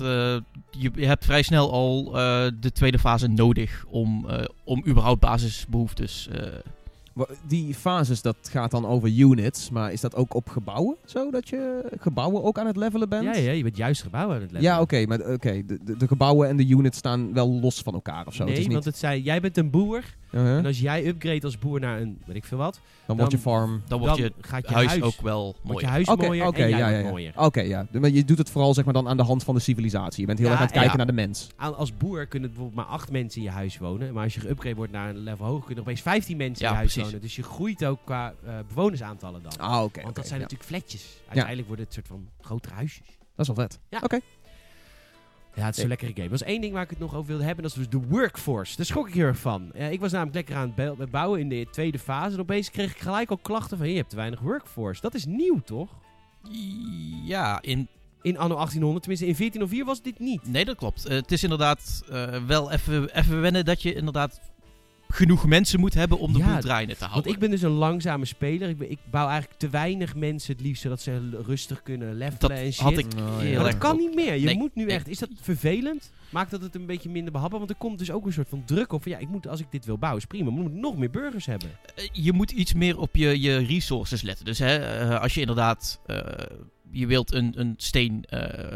[SPEAKER 3] je, je hebt vrij snel al eh, de tweede fase nodig om, eh, om überhaupt basisbehoeftes eh,
[SPEAKER 2] Wa- Die fases, dat gaat dan over units. Maar is dat ook op gebouwen zo? Dat je gebouwen ook aan het levelen bent?
[SPEAKER 1] Ja, ja, je bent juist gebouwen aan het leggen.
[SPEAKER 2] Ja, oké. maar eh, oké, de, de, de gebouwen en de units staan wel los van elkaar of zo.
[SPEAKER 1] Nee,
[SPEAKER 2] het is niet,
[SPEAKER 1] want het zei, jij bent een boer.
[SPEAKER 2] Uh-huh.
[SPEAKER 1] En als jij upgrade als boer naar een, weet ik veel wat,
[SPEAKER 2] dan wordt je
[SPEAKER 1] dan-
[SPEAKER 2] farm...
[SPEAKER 3] dan wordt je
[SPEAKER 1] gaat je
[SPEAKER 3] huis,
[SPEAKER 1] huis,
[SPEAKER 3] ook wel
[SPEAKER 1] wordt
[SPEAKER 3] mooi.
[SPEAKER 1] je huis
[SPEAKER 2] Oké,
[SPEAKER 1] mooier
[SPEAKER 2] oké,
[SPEAKER 1] en jij
[SPEAKER 2] ja, ja,
[SPEAKER 1] wordt
[SPEAKER 2] ja.
[SPEAKER 1] mooier.
[SPEAKER 2] Oké, ja. De- Maar je doet het vooral zeg maar, dan aan de hand van de civilisatie. Je bent heel
[SPEAKER 1] Ja,
[SPEAKER 2] erg aan het kijken
[SPEAKER 3] ja.
[SPEAKER 2] naar de mens.
[SPEAKER 1] Aan- als boer kunnen bijvoorbeeld maar acht mensen in je huis wonen. Maar als je geüpgrade wordt naar een level hoger, kunnen er opeens 15 mensen in
[SPEAKER 3] Ja,
[SPEAKER 1] je huis
[SPEAKER 3] precies.
[SPEAKER 1] wonen. Dus je groeit ook qua eh, bewonersaantallen dan.
[SPEAKER 2] Ah, oké.
[SPEAKER 1] Want dat
[SPEAKER 2] oké,
[SPEAKER 1] zijn
[SPEAKER 2] ja.
[SPEAKER 1] natuurlijk fletjes. Uiteindelijk worden het soort van grotere huisjes.
[SPEAKER 2] Dat is wel vet.
[SPEAKER 1] Ja, het is een lekkere game. Dat was één ding waar ik het nog over wilde hebben. Dat is dus de workforce. Daar schrok ik heel erg van. Eh, ik was namelijk lekker aan het bel- het bouwen in de tweede fase. En opeens kreeg ik gelijk al klachten van... "Hey, Je hebt te weinig workforce. Dat is nieuw, toch?
[SPEAKER 3] Ja, in,
[SPEAKER 1] In anno 1800. Tenminste, in 1404 was dit niet.
[SPEAKER 3] nee, dat klopt. Eh, het is inderdaad eh, wel even even wennen dat je inderdaad genoeg mensen moet hebben om de
[SPEAKER 1] Ja,
[SPEAKER 3] boel draaiende te
[SPEAKER 1] Want
[SPEAKER 3] houden.
[SPEAKER 1] ik ben dus een langzame speler. Ik, ben- ik bouw eigenlijk te weinig mensen het liefst... zodat ze l- rustig kunnen levelen
[SPEAKER 3] Dat
[SPEAKER 1] en shit.
[SPEAKER 3] had ik
[SPEAKER 2] Nou,
[SPEAKER 3] heel
[SPEAKER 1] maar
[SPEAKER 3] erg
[SPEAKER 1] dat kan niet meer. Je
[SPEAKER 3] Nee,
[SPEAKER 1] moet nu
[SPEAKER 3] nee.
[SPEAKER 1] echt... Is dat vervelend? Maakt dat het een beetje minder behapbaar? Want er komt dus ook een soort van druk op. van, Ja, ik moet, als ik dit wil bouwen, is prima. Maar ik moet nog meer burgers hebben.
[SPEAKER 3] Eh, je moet iets meer op je, je resources letten. Dus hè, eh, als je inderdaad, eh, je wilt een, een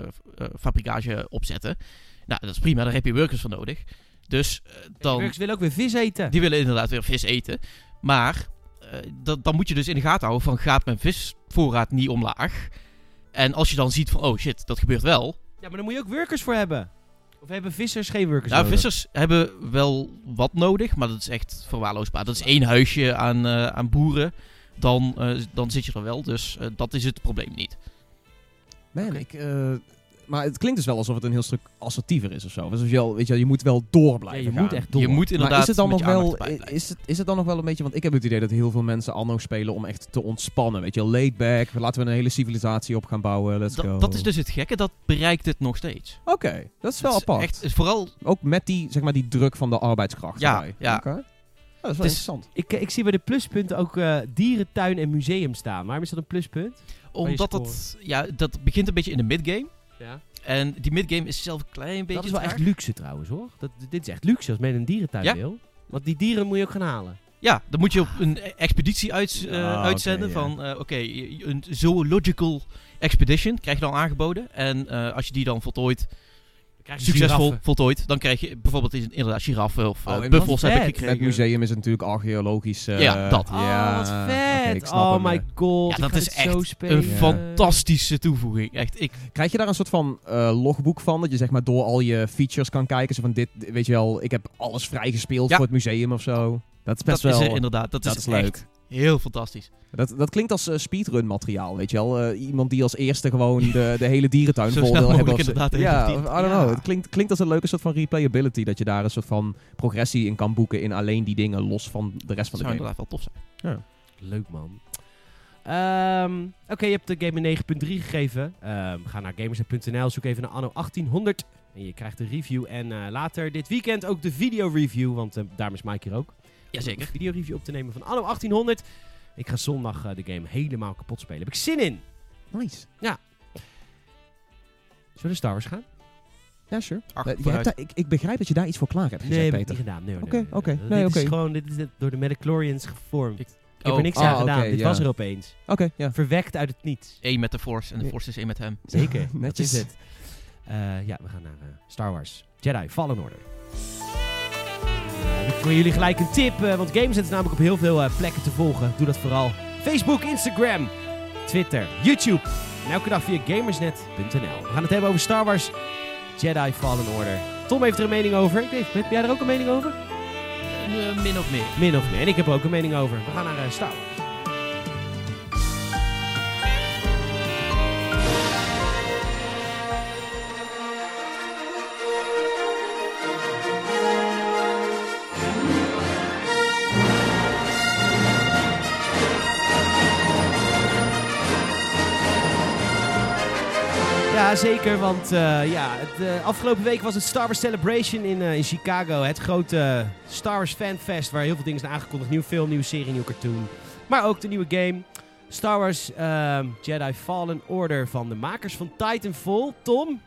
[SPEAKER 3] steenfabrikage opzetten. Nou, dat is prima, daar heb je workers voor nodig. Dus eh,
[SPEAKER 1] De
[SPEAKER 3] dan,
[SPEAKER 1] burgers willen ook weer vis eten.
[SPEAKER 3] die willen inderdaad weer vis eten. Maar eh, dat, dan moet je dus in de gaten houden van gaat mijn visvoorraad niet omlaag? En als je dan ziet van, oh shit, dat gebeurt wel.
[SPEAKER 1] Ja, maar daar moet je ook workers voor hebben. Of hebben vissers geen workers
[SPEAKER 3] Nou,
[SPEAKER 1] nodig?
[SPEAKER 3] vissers hebben wel wat nodig, maar dat is echt verwaarloosbaar. Dat is één huisje aan, eh, aan boeren, dan, eh, dan zit je er wel. Dus eh, dat is het probleem niet.
[SPEAKER 2] Man,
[SPEAKER 1] Oké.
[SPEAKER 2] ik... eh, maar het klinkt dus wel alsof het een heel stuk assertiever is of zo. Dus als je, al, weet je, wel, je moet wel door blijven
[SPEAKER 1] Ja, je
[SPEAKER 2] gaan.
[SPEAKER 1] moet echt door.
[SPEAKER 3] Je moet inderdaad
[SPEAKER 2] maar is het dan
[SPEAKER 3] met
[SPEAKER 2] nog
[SPEAKER 3] je
[SPEAKER 2] wel
[SPEAKER 3] aandacht erbij blijven.
[SPEAKER 2] is het, is het dan nog wel een beetje want ik heb het idee dat heel veel mensen anno spelen om echt te ontspannen weet je laid back laten we een hele civilisatie op gaan bouwen let's
[SPEAKER 3] Dat-
[SPEAKER 2] go
[SPEAKER 3] dat is dus het gekke, dat bereikt het nog steeds.
[SPEAKER 2] oké dat is wel
[SPEAKER 3] Het
[SPEAKER 2] apart
[SPEAKER 3] Echt, het is vooral
[SPEAKER 2] ook met die zeg maar die druk van de arbeidskracht
[SPEAKER 3] Ja,
[SPEAKER 2] erbij.
[SPEAKER 3] ja.
[SPEAKER 2] Oké. Ja, dat is wel
[SPEAKER 3] Het is-
[SPEAKER 2] interessant
[SPEAKER 1] Ik, eh, ik zie bij de pluspunten ook eh, dierentuin en museum staan. Waarom is dat een pluspunt?
[SPEAKER 3] omdat dat, ja, dat begint een beetje in de midgame.
[SPEAKER 1] Ja.
[SPEAKER 3] En die midgame is zelf een klein beetje
[SPEAKER 1] Dat is wel
[SPEAKER 3] traag.
[SPEAKER 1] echt luxe trouwens, hoor. Dat, dit is echt luxe als men een dierentuin
[SPEAKER 3] Ja?
[SPEAKER 1] wil. Want die dieren moet je ook gaan halen.
[SPEAKER 3] Ja, dan moet je op een e-, expeditie uit, eh,
[SPEAKER 2] Ah, oké,
[SPEAKER 3] uitzenden
[SPEAKER 2] ja.
[SPEAKER 3] van, eh, oké, een zoological expedition krijg je dan aangeboden. En eh, als je die dan voltooit, succesvol voltooid, dan krijg je bijvoorbeeld in- inderdaad giraffen of
[SPEAKER 2] Oh,
[SPEAKER 3] eh,
[SPEAKER 2] en
[SPEAKER 3] buffels
[SPEAKER 1] wat
[SPEAKER 3] heb ik
[SPEAKER 1] vet.
[SPEAKER 3] gekregen.
[SPEAKER 2] het museum is natuurlijk archeologisch eh,
[SPEAKER 3] Ja, dat.
[SPEAKER 1] Oh,
[SPEAKER 2] ja,
[SPEAKER 1] wat
[SPEAKER 2] oké,
[SPEAKER 1] vet.
[SPEAKER 2] ik snap
[SPEAKER 1] oh
[SPEAKER 2] hem,
[SPEAKER 1] my
[SPEAKER 2] ja.
[SPEAKER 1] god.
[SPEAKER 3] Ja,
[SPEAKER 1] ik
[SPEAKER 3] dat
[SPEAKER 1] ga
[SPEAKER 3] is
[SPEAKER 1] dit
[SPEAKER 3] echt
[SPEAKER 1] zo spelen.
[SPEAKER 3] Een fantastische toevoeging. Echt, ik,
[SPEAKER 2] Krijg je daar een soort van eh, logboek van? Dat je zeg maar door al je features kan kijken. Zo van dit, weet je wel, ik heb alles vrijgespeeld
[SPEAKER 3] Ja.
[SPEAKER 2] voor het museum of zo. Dat is best
[SPEAKER 3] dat
[SPEAKER 2] wel...
[SPEAKER 3] is er inderdaad. Dat,
[SPEAKER 2] dat
[SPEAKER 3] is,
[SPEAKER 2] is leuk.
[SPEAKER 3] echt heel fantastisch.
[SPEAKER 2] Dat, dat klinkt als eh, speedrun materiaal, weet je wel. Eh, iemand die als eerste gewoon de, de hele dierentuin
[SPEAKER 3] Zo
[SPEAKER 2] vol
[SPEAKER 3] snel
[SPEAKER 2] wil hebben.
[SPEAKER 3] mogelijk
[SPEAKER 2] als-
[SPEAKER 3] inderdaad,
[SPEAKER 2] ja, I
[SPEAKER 3] even
[SPEAKER 2] don't
[SPEAKER 3] ja.
[SPEAKER 2] know. Het klinkt, klinkt als een leuke soort van replayability. Dat je daar een soort van progressie in kan boeken in alleen die dingen, los van de rest van
[SPEAKER 3] Dat
[SPEAKER 2] de game.
[SPEAKER 3] zou inderdaad wel tof zijn.
[SPEAKER 1] Leuk man. Ehm, Oké, je hebt de game een 9.3 gegeven. Ehm, ga naar gamers.nl, zoek even naar anno 1800. En je krijgt een review. En eh, later dit weekend ook de video-review, want eh, daarom is Mike hier ook. Om
[SPEAKER 3] Jazeker.
[SPEAKER 1] Een video-review op te nemen van anno 1800. Ik ga zondag eh, de game helemaal kapot spelen. Heb ik zin in.
[SPEAKER 2] Nice.
[SPEAKER 1] Zullen we naar Star Wars gaan?
[SPEAKER 2] Ja, sure.
[SPEAKER 3] Ach,
[SPEAKER 2] Eh, je
[SPEAKER 3] vooruit.
[SPEAKER 2] hebt daar- ik, ik begrijp dat je daar iets voor klaar hebt gezegd,
[SPEAKER 1] Nee, heb ik
[SPEAKER 2] Peter.
[SPEAKER 1] niet gedaan. Nou, Nee, hoor,
[SPEAKER 2] Oké,
[SPEAKER 1] nee, nee,
[SPEAKER 2] oké.
[SPEAKER 1] nee.
[SPEAKER 2] Nee,
[SPEAKER 1] dit is
[SPEAKER 2] oké.
[SPEAKER 1] gewoon dit is door de Metaclorians gevormd.
[SPEAKER 3] Ik-
[SPEAKER 1] Ik, heb er niks
[SPEAKER 2] oh,
[SPEAKER 1] aan
[SPEAKER 2] ah,
[SPEAKER 1] gedaan.
[SPEAKER 2] oké,
[SPEAKER 1] dit
[SPEAKER 2] ja.
[SPEAKER 1] was er opeens.
[SPEAKER 2] Oké, ja.
[SPEAKER 1] Verwekt uit het niets.
[SPEAKER 3] Eén met de Force en de
[SPEAKER 2] Nee.
[SPEAKER 3] Force is één met hem.
[SPEAKER 1] Zeker. dat
[SPEAKER 2] Netjes.
[SPEAKER 1] is het. Eh, ja, we gaan naar eh, Star Wars Jedi Fallen Order. Eh, ik voor jullie gelijk een tip, eh, want games is namelijk op heel veel eh, plekken te volgen. Doe dat vooral. Facebook, Instagram, Twitter, YouTube. En elke dag via gamersnet.nl. We gaan het hebben over Star Wars Jedi Fallen Order. Tom heeft er een mening over. Ik weet, heb jij er ook een mening over?
[SPEAKER 3] Eh, min of meer.
[SPEAKER 1] Min of meer. En ik heb er ook een mening over. We gaan naar eh, Star Wars. Ja, zeker. Want eh, ja, het, eh, afgelopen week was het Star Wars Celebration in, eh, in Chicago. Het grote eh, Star Wars fanfest waar heel veel dingen zijn aangekondigd. Nieuw film, nieuwe serie, nieuw cartoon. Maar ook de nieuwe game. Star Wars ehm, Jedi Fallen Order van de makers van Titanfall. Tom?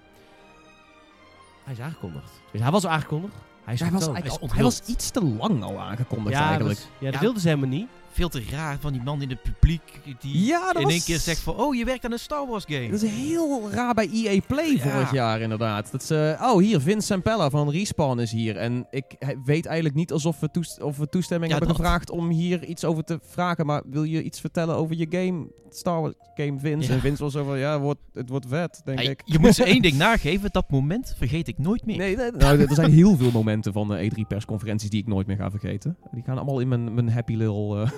[SPEAKER 1] Hij is aangekondigd. Dus hij was al aangekondigd. Hij is
[SPEAKER 2] Hij was,
[SPEAKER 1] getoond.
[SPEAKER 2] eigenlijk al-
[SPEAKER 3] onthuld.
[SPEAKER 2] hij was iets te lang al aangekondigd
[SPEAKER 1] ja,
[SPEAKER 2] eigenlijk.
[SPEAKER 1] dat- ja, dat
[SPEAKER 3] Ja.
[SPEAKER 1] wilden ze helemaal niet.
[SPEAKER 3] Veel te raar van die man in het publiek die
[SPEAKER 2] ja, dat
[SPEAKER 3] in
[SPEAKER 2] was...
[SPEAKER 3] één keer zegt van... Oh, je werkt aan een Star Wars game.
[SPEAKER 2] Dat is heel raar bij EA Play
[SPEAKER 3] Ja.
[SPEAKER 2] vorig jaar inderdaad. Dat ze, oh, hier, Vince Sampella van Respawn is hier. En ik he- weet eigenlijk niet alsof we, toest- of we toestemming
[SPEAKER 3] Ja,
[SPEAKER 2] hebben
[SPEAKER 3] dat.
[SPEAKER 2] gevraagd om hier iets over te vragen. Maar wil je iets vertellen over je game, Star Wars game Vince?
[SPEAKER 3] Ja.
[SPEAKER 2] En Vince was zo van, ja, wordt, het wordt vet, denk
[SPEAKER 3] Hey,
[SPEAKER 2] ik.
[SPEAKER 3] je moet ze één ding nageven. Dat moment vergeet ik nooit meer.
[SPEAKER 2] Nee, nee, nou, er zijn heel veel momenten van eh, de E3-persconferenties die ik nooit meer ga vergeten. Die gaan allemaal in mijn, mijn happy little eh,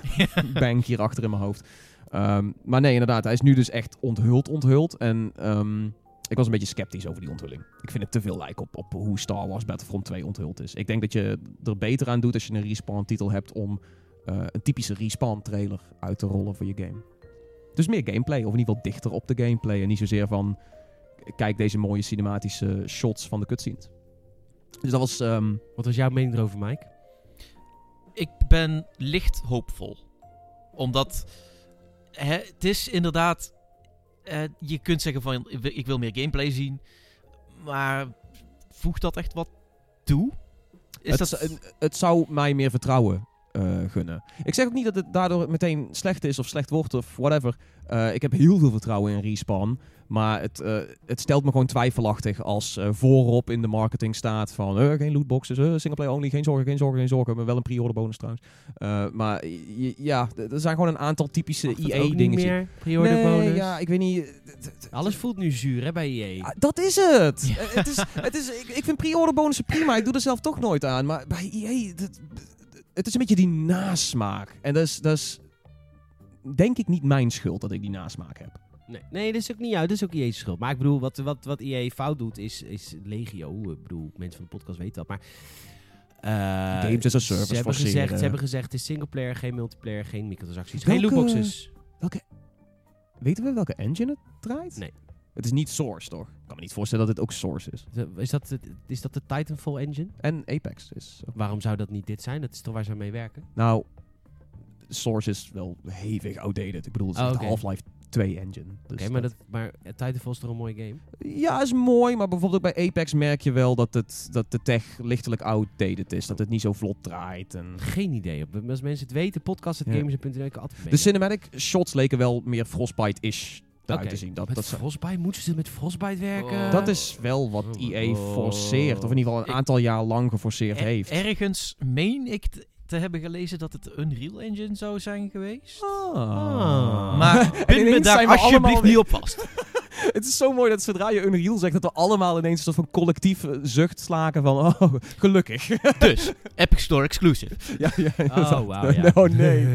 [SPEAKER 2] bank hier achter in mijn hoofd. Ehm, maar nee, inderdaad, hij is nu dus echt onthuld, onthuld. En ehm, ik was een beetje sceptisch over die onthulling. Ik vind het te veel lijk op, op hoe Star Wars Battlefront 2 onthuld is. Ik denk dat je er beter aan doet als je een respawn-titel hebt om eh, een typische respawn-trailer uit te rollen voor je game. Dus meer gameplay, of in ieder geval dichter op de gameplay. En niet zozeer van, kijk deze mooie cinematische shots van de cutscenes. Dus dat was... ehm,
[SPEAKER 1] Wat was jouw mening erover, Mike?
[SPEAKER 3] ik ben licht hoopvol. Omdat hè, het is inderdaad. eh, je kunt zeggen van ik wil- ik wil meer gameplay zien. Maar voegt dat echt wat toe? Is
[SPEAKER 2] het,
[SPEAKER 3] dat,
[SPEAKER 2] z- het- het zou mij meer vertrouwen eh, gunnen. Ik zeg ook niet dat het daardoor meteen slecht is of slecht wordt of whatever. Eh, ik heb heel veel vertrouwen in Respawn. Maar het, eh, het stelt me gewoon twijfelachtig als eh, voorop in de marketing staat van eh, geen lootboxes, eh, singleplayer only, geen zorgen, geen zorgen, geen zorgen. Maar wel een pre-order bonus trouwens. Eh, maar j- ja, d- er zijn gewoon een aantal typische
[SPEAKER 1] Mag dat
[SPEAKER 2] EA
[SPEAKER 1] ook niet
[SPEAKER 2] dingetjes.
[SPEAKER 1] meer. Pre-order bonus.
[SPEAKER 2] ja, ik weet niet.
[SPEAKER 1] Alles voelt nu zuur hè, bij E EA.
[SPEAKER 2] Ah, Dat is het. Eh, Het is, het is, ik, ik vind pre-order bonussen prima. Ik doe er zelf toch nooit aan. Maar bij E EA, dat- het is een beetje die nasmaak. En dat is, dat is denk ik niet mijn schuld dat ik die nasmaak heb.
[SPEAKER 1] Nee, nee, dat is ook niet jou, dat is ook IE's schuld. Maar ik bedoel, wat, wat, wat IE fout doet is, is legio. Ik bedoel, mensen van de podcast weten dat, maar... eh,
[SPEAKER 2] Games as a service
[SPEAKER 1] ze hebben,
[SPEAKER 2] forceren.
[SPEAKER 1] gezegd, ze hebben gezegd, het is singleplayer, geen multiplayer, geen microtransacties, geen
[SPEAKER 2] Welke-
[SPEAKER 1] lootboxes.
[SPEAKER 2] Weten we welke engine het draait?
[SPEAKER 1] Nee.
[SPEAKER 2] Het is niet Source, toch? Ik kan me niet voorstellen dat dit ook Source is.
[SPEAKER 1] Is dat, de- is dat de Titanfall engine?
[SPEAKER 2] En Apex is. ook-
[SPEAKER 1] Waarom zou dat niet dit zijn? Dat is toch waar ze aan mee werken?
[SPEAKER 2] Nou, Source is wel hevig outdated. Ik bedoel, het is
[SPEAKER 1] Oh,
[SPEAKER 2] echt
[SPEAKER 1] oké.
[SPEAKER 2] de Half-Life 2 engine. Dus
[SPEAKER 1] Oké, maar, dat, maar eh, Titanfall is toch een mooie game?
[SPEAKER 2] Ja, is mooi, maar bijvoorbeeld ook bij Apex merk je wel dat, het, dat de tech lichtelijk outdated is. Dat het niet zo vlot draait. En...
[SPEAKER 1] Geen idee. Op- Als mensen het weten, podcast.gamers.nl, ik kan altijd mee.
[SPEAKER 2] De cinematic shots leken wel meer Frostbite-ish eruit
[SPEAKER 1] Oké.
[SPEAKER 2] te zien. Dat,
[SPEAKER 1] Met
[SPEAKER 2] dat,
[SPEAKER 1] Frostbite? Moeten ze met Frostbite werken?
[SPEAKER 3] Oh.
[SPEAKER 2] dat is wel wat
[SPEAKER 1] Oh.
[SPEAKER 2] EA forceert. Of in ieder geval een
[SPEAKER 3] Ik-
[SPEAKER 2] aantal jaar lang geforceerd
[SPEAKER 3] er-
[SPEAKER 2] heeft.
[SPEAKER 3] ergens meen ik te, te hebben gelezen dat het Unreal Engine zou zijn geweest.
[SPEAKER 2] Ah.
[SPEAKER 1] Ah.
[SPEAKER 3] Maar pin me
[SPEAKER 2] ineens
[SPEAKER 3] daar
[SPEAKER 2] zijn we allemaal
[SPEAKER 3] alsjeblieft
[SPEAKER 2] weer-
[SPEAKER 3] niet op vast.
[SPEAKER 2] Het is zo mooi dat zodra je Unreal zegt, dat we allemaal ineens een soort van collectief eh, zucht slaken van, oh, gelukkig.
[SPEAKER 3] Dus, Epic Store exclusive.
[SPEAKER 2] ja, ja,
[SPEAKER 1] Oh, wauw, ja.
[SPEAKER 2] Oh, nee.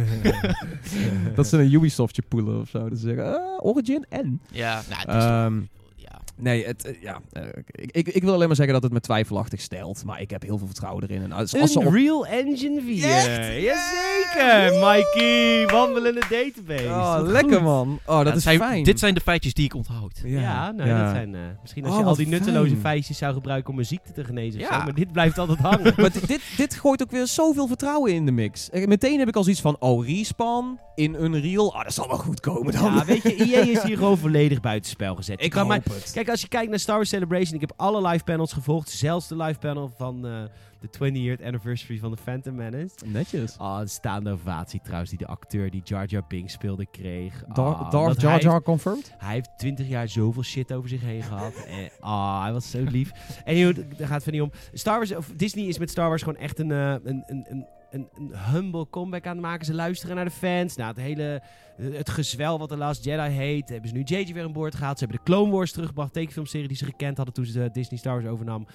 [SPEAKER 2] dat ze een Ubisoftje poelen of zo. Dat ze zeggen, eh, Origin en...
[SPEAKER 3] Ja, nou, het is
[SPEAKER 2] Ehm,
[SPEAKER 3] toch- ja.
[SPEAKER 2] nee, het, eh, ja, eh, ik, ik, ik wil alleen maar zeggen dat het me twijfelachtig stelt, maar ik heb heel veel vertrouwen erin. En als, als ze op-
[SPEAKER 1] Unreal Engine 4.
[SPEAKER 2] Echt?
[SPEAKER 1] Jazeker,
[SPEAKER 2] Yeah!
[SPEAKER 1] Mikey. Wandelende database.
[SPEAKER 2] Oh,
[SPEAKER 1] Wat
[SPEAKER 2] lekker
[SPEAKER 1] goed.
[SPEAKER 2] man. Oh, dat,
[SPEAKER 3] Ja,
[SPEAKER 2] is
[SPEAKER 3] zijn-
[SPEAKER 2] fijn.
[SPEAKER 3] Dit zijn de feitjes die ik onthoud.
[SPEAKER 1] Ja, nou,
[SPEAKER 2] ja.
[SPEAKER 1] dat zijn... eh, misschien als
[SPEAKER 2] Oh,
[SPEAKER 1] je al
[SPEAKER 2] wat
[SPEAKER 1] die nutteloze
[SPEAKER 2] fijn.
[SPEAKER 1] feitjes zou gebruiken om een ziekte te genezen of
[SPEAKER 3] Ja.
[SPEAKER 1] zo, Maar dit blijft altijd hangen.
[SPEAKER 2] Maar dit- dit, dit gooit ook weer zoveel vertrouwen in de mix. Eh, Meteen heb ik al zoiets van, oh, respawn in Unreal. Ah, dat zal wel goed komen dan.
[SPEAKER 1] ja, weet je, EA is hier gewoon volledig buitenspel gezet. Je
[SPEAKER 2] ik
[SPEAKER 1] kan
[SPEAKER 2] hoop
[SPEAKER 1] maar-
[SPEAKER 2] het.
[SPEAKER 1] Kijk, als je kijkt naar Star Wars Celebration, ik heb alle live panels gevolgd. Zelfs de live panel van eh, de 20th anniversary van The Phantom Menace.
[SPEAKER 2] Netjes.
[SPEAKER 1] Ah, een staande ovatie trouwens, die de acteur die Jar Jar Bing speelde kreeg. Ah,
[SPEAKER 2] Dark,
[SPEAKER 1] want
[SPEAKER 2] Darth Jar
[SPEAKER 1] hij-
[SPEAKER 2] Jar confirmed?
[SPEAKER 1] Hij heeft 20 jaar zoveel shit over zich heen gehad. En, ah, hij was zo lief. En daar gaat het niet om. Star Wars, of Disney is met Star Wars gewoon echt een, eh, een, een, een, een, een humble comeback aan het maken. Ze luisteren naar de fans. Nou, het hele eh, het gezwel wat de Last Jedi heet. Hebben ze nu JJ weer aan boord gehaald. Ze hebben de Clone Wars teruggebracht. Tekenfilmserie die ze gekend hadden toen ze de Disney Star Wars overnam.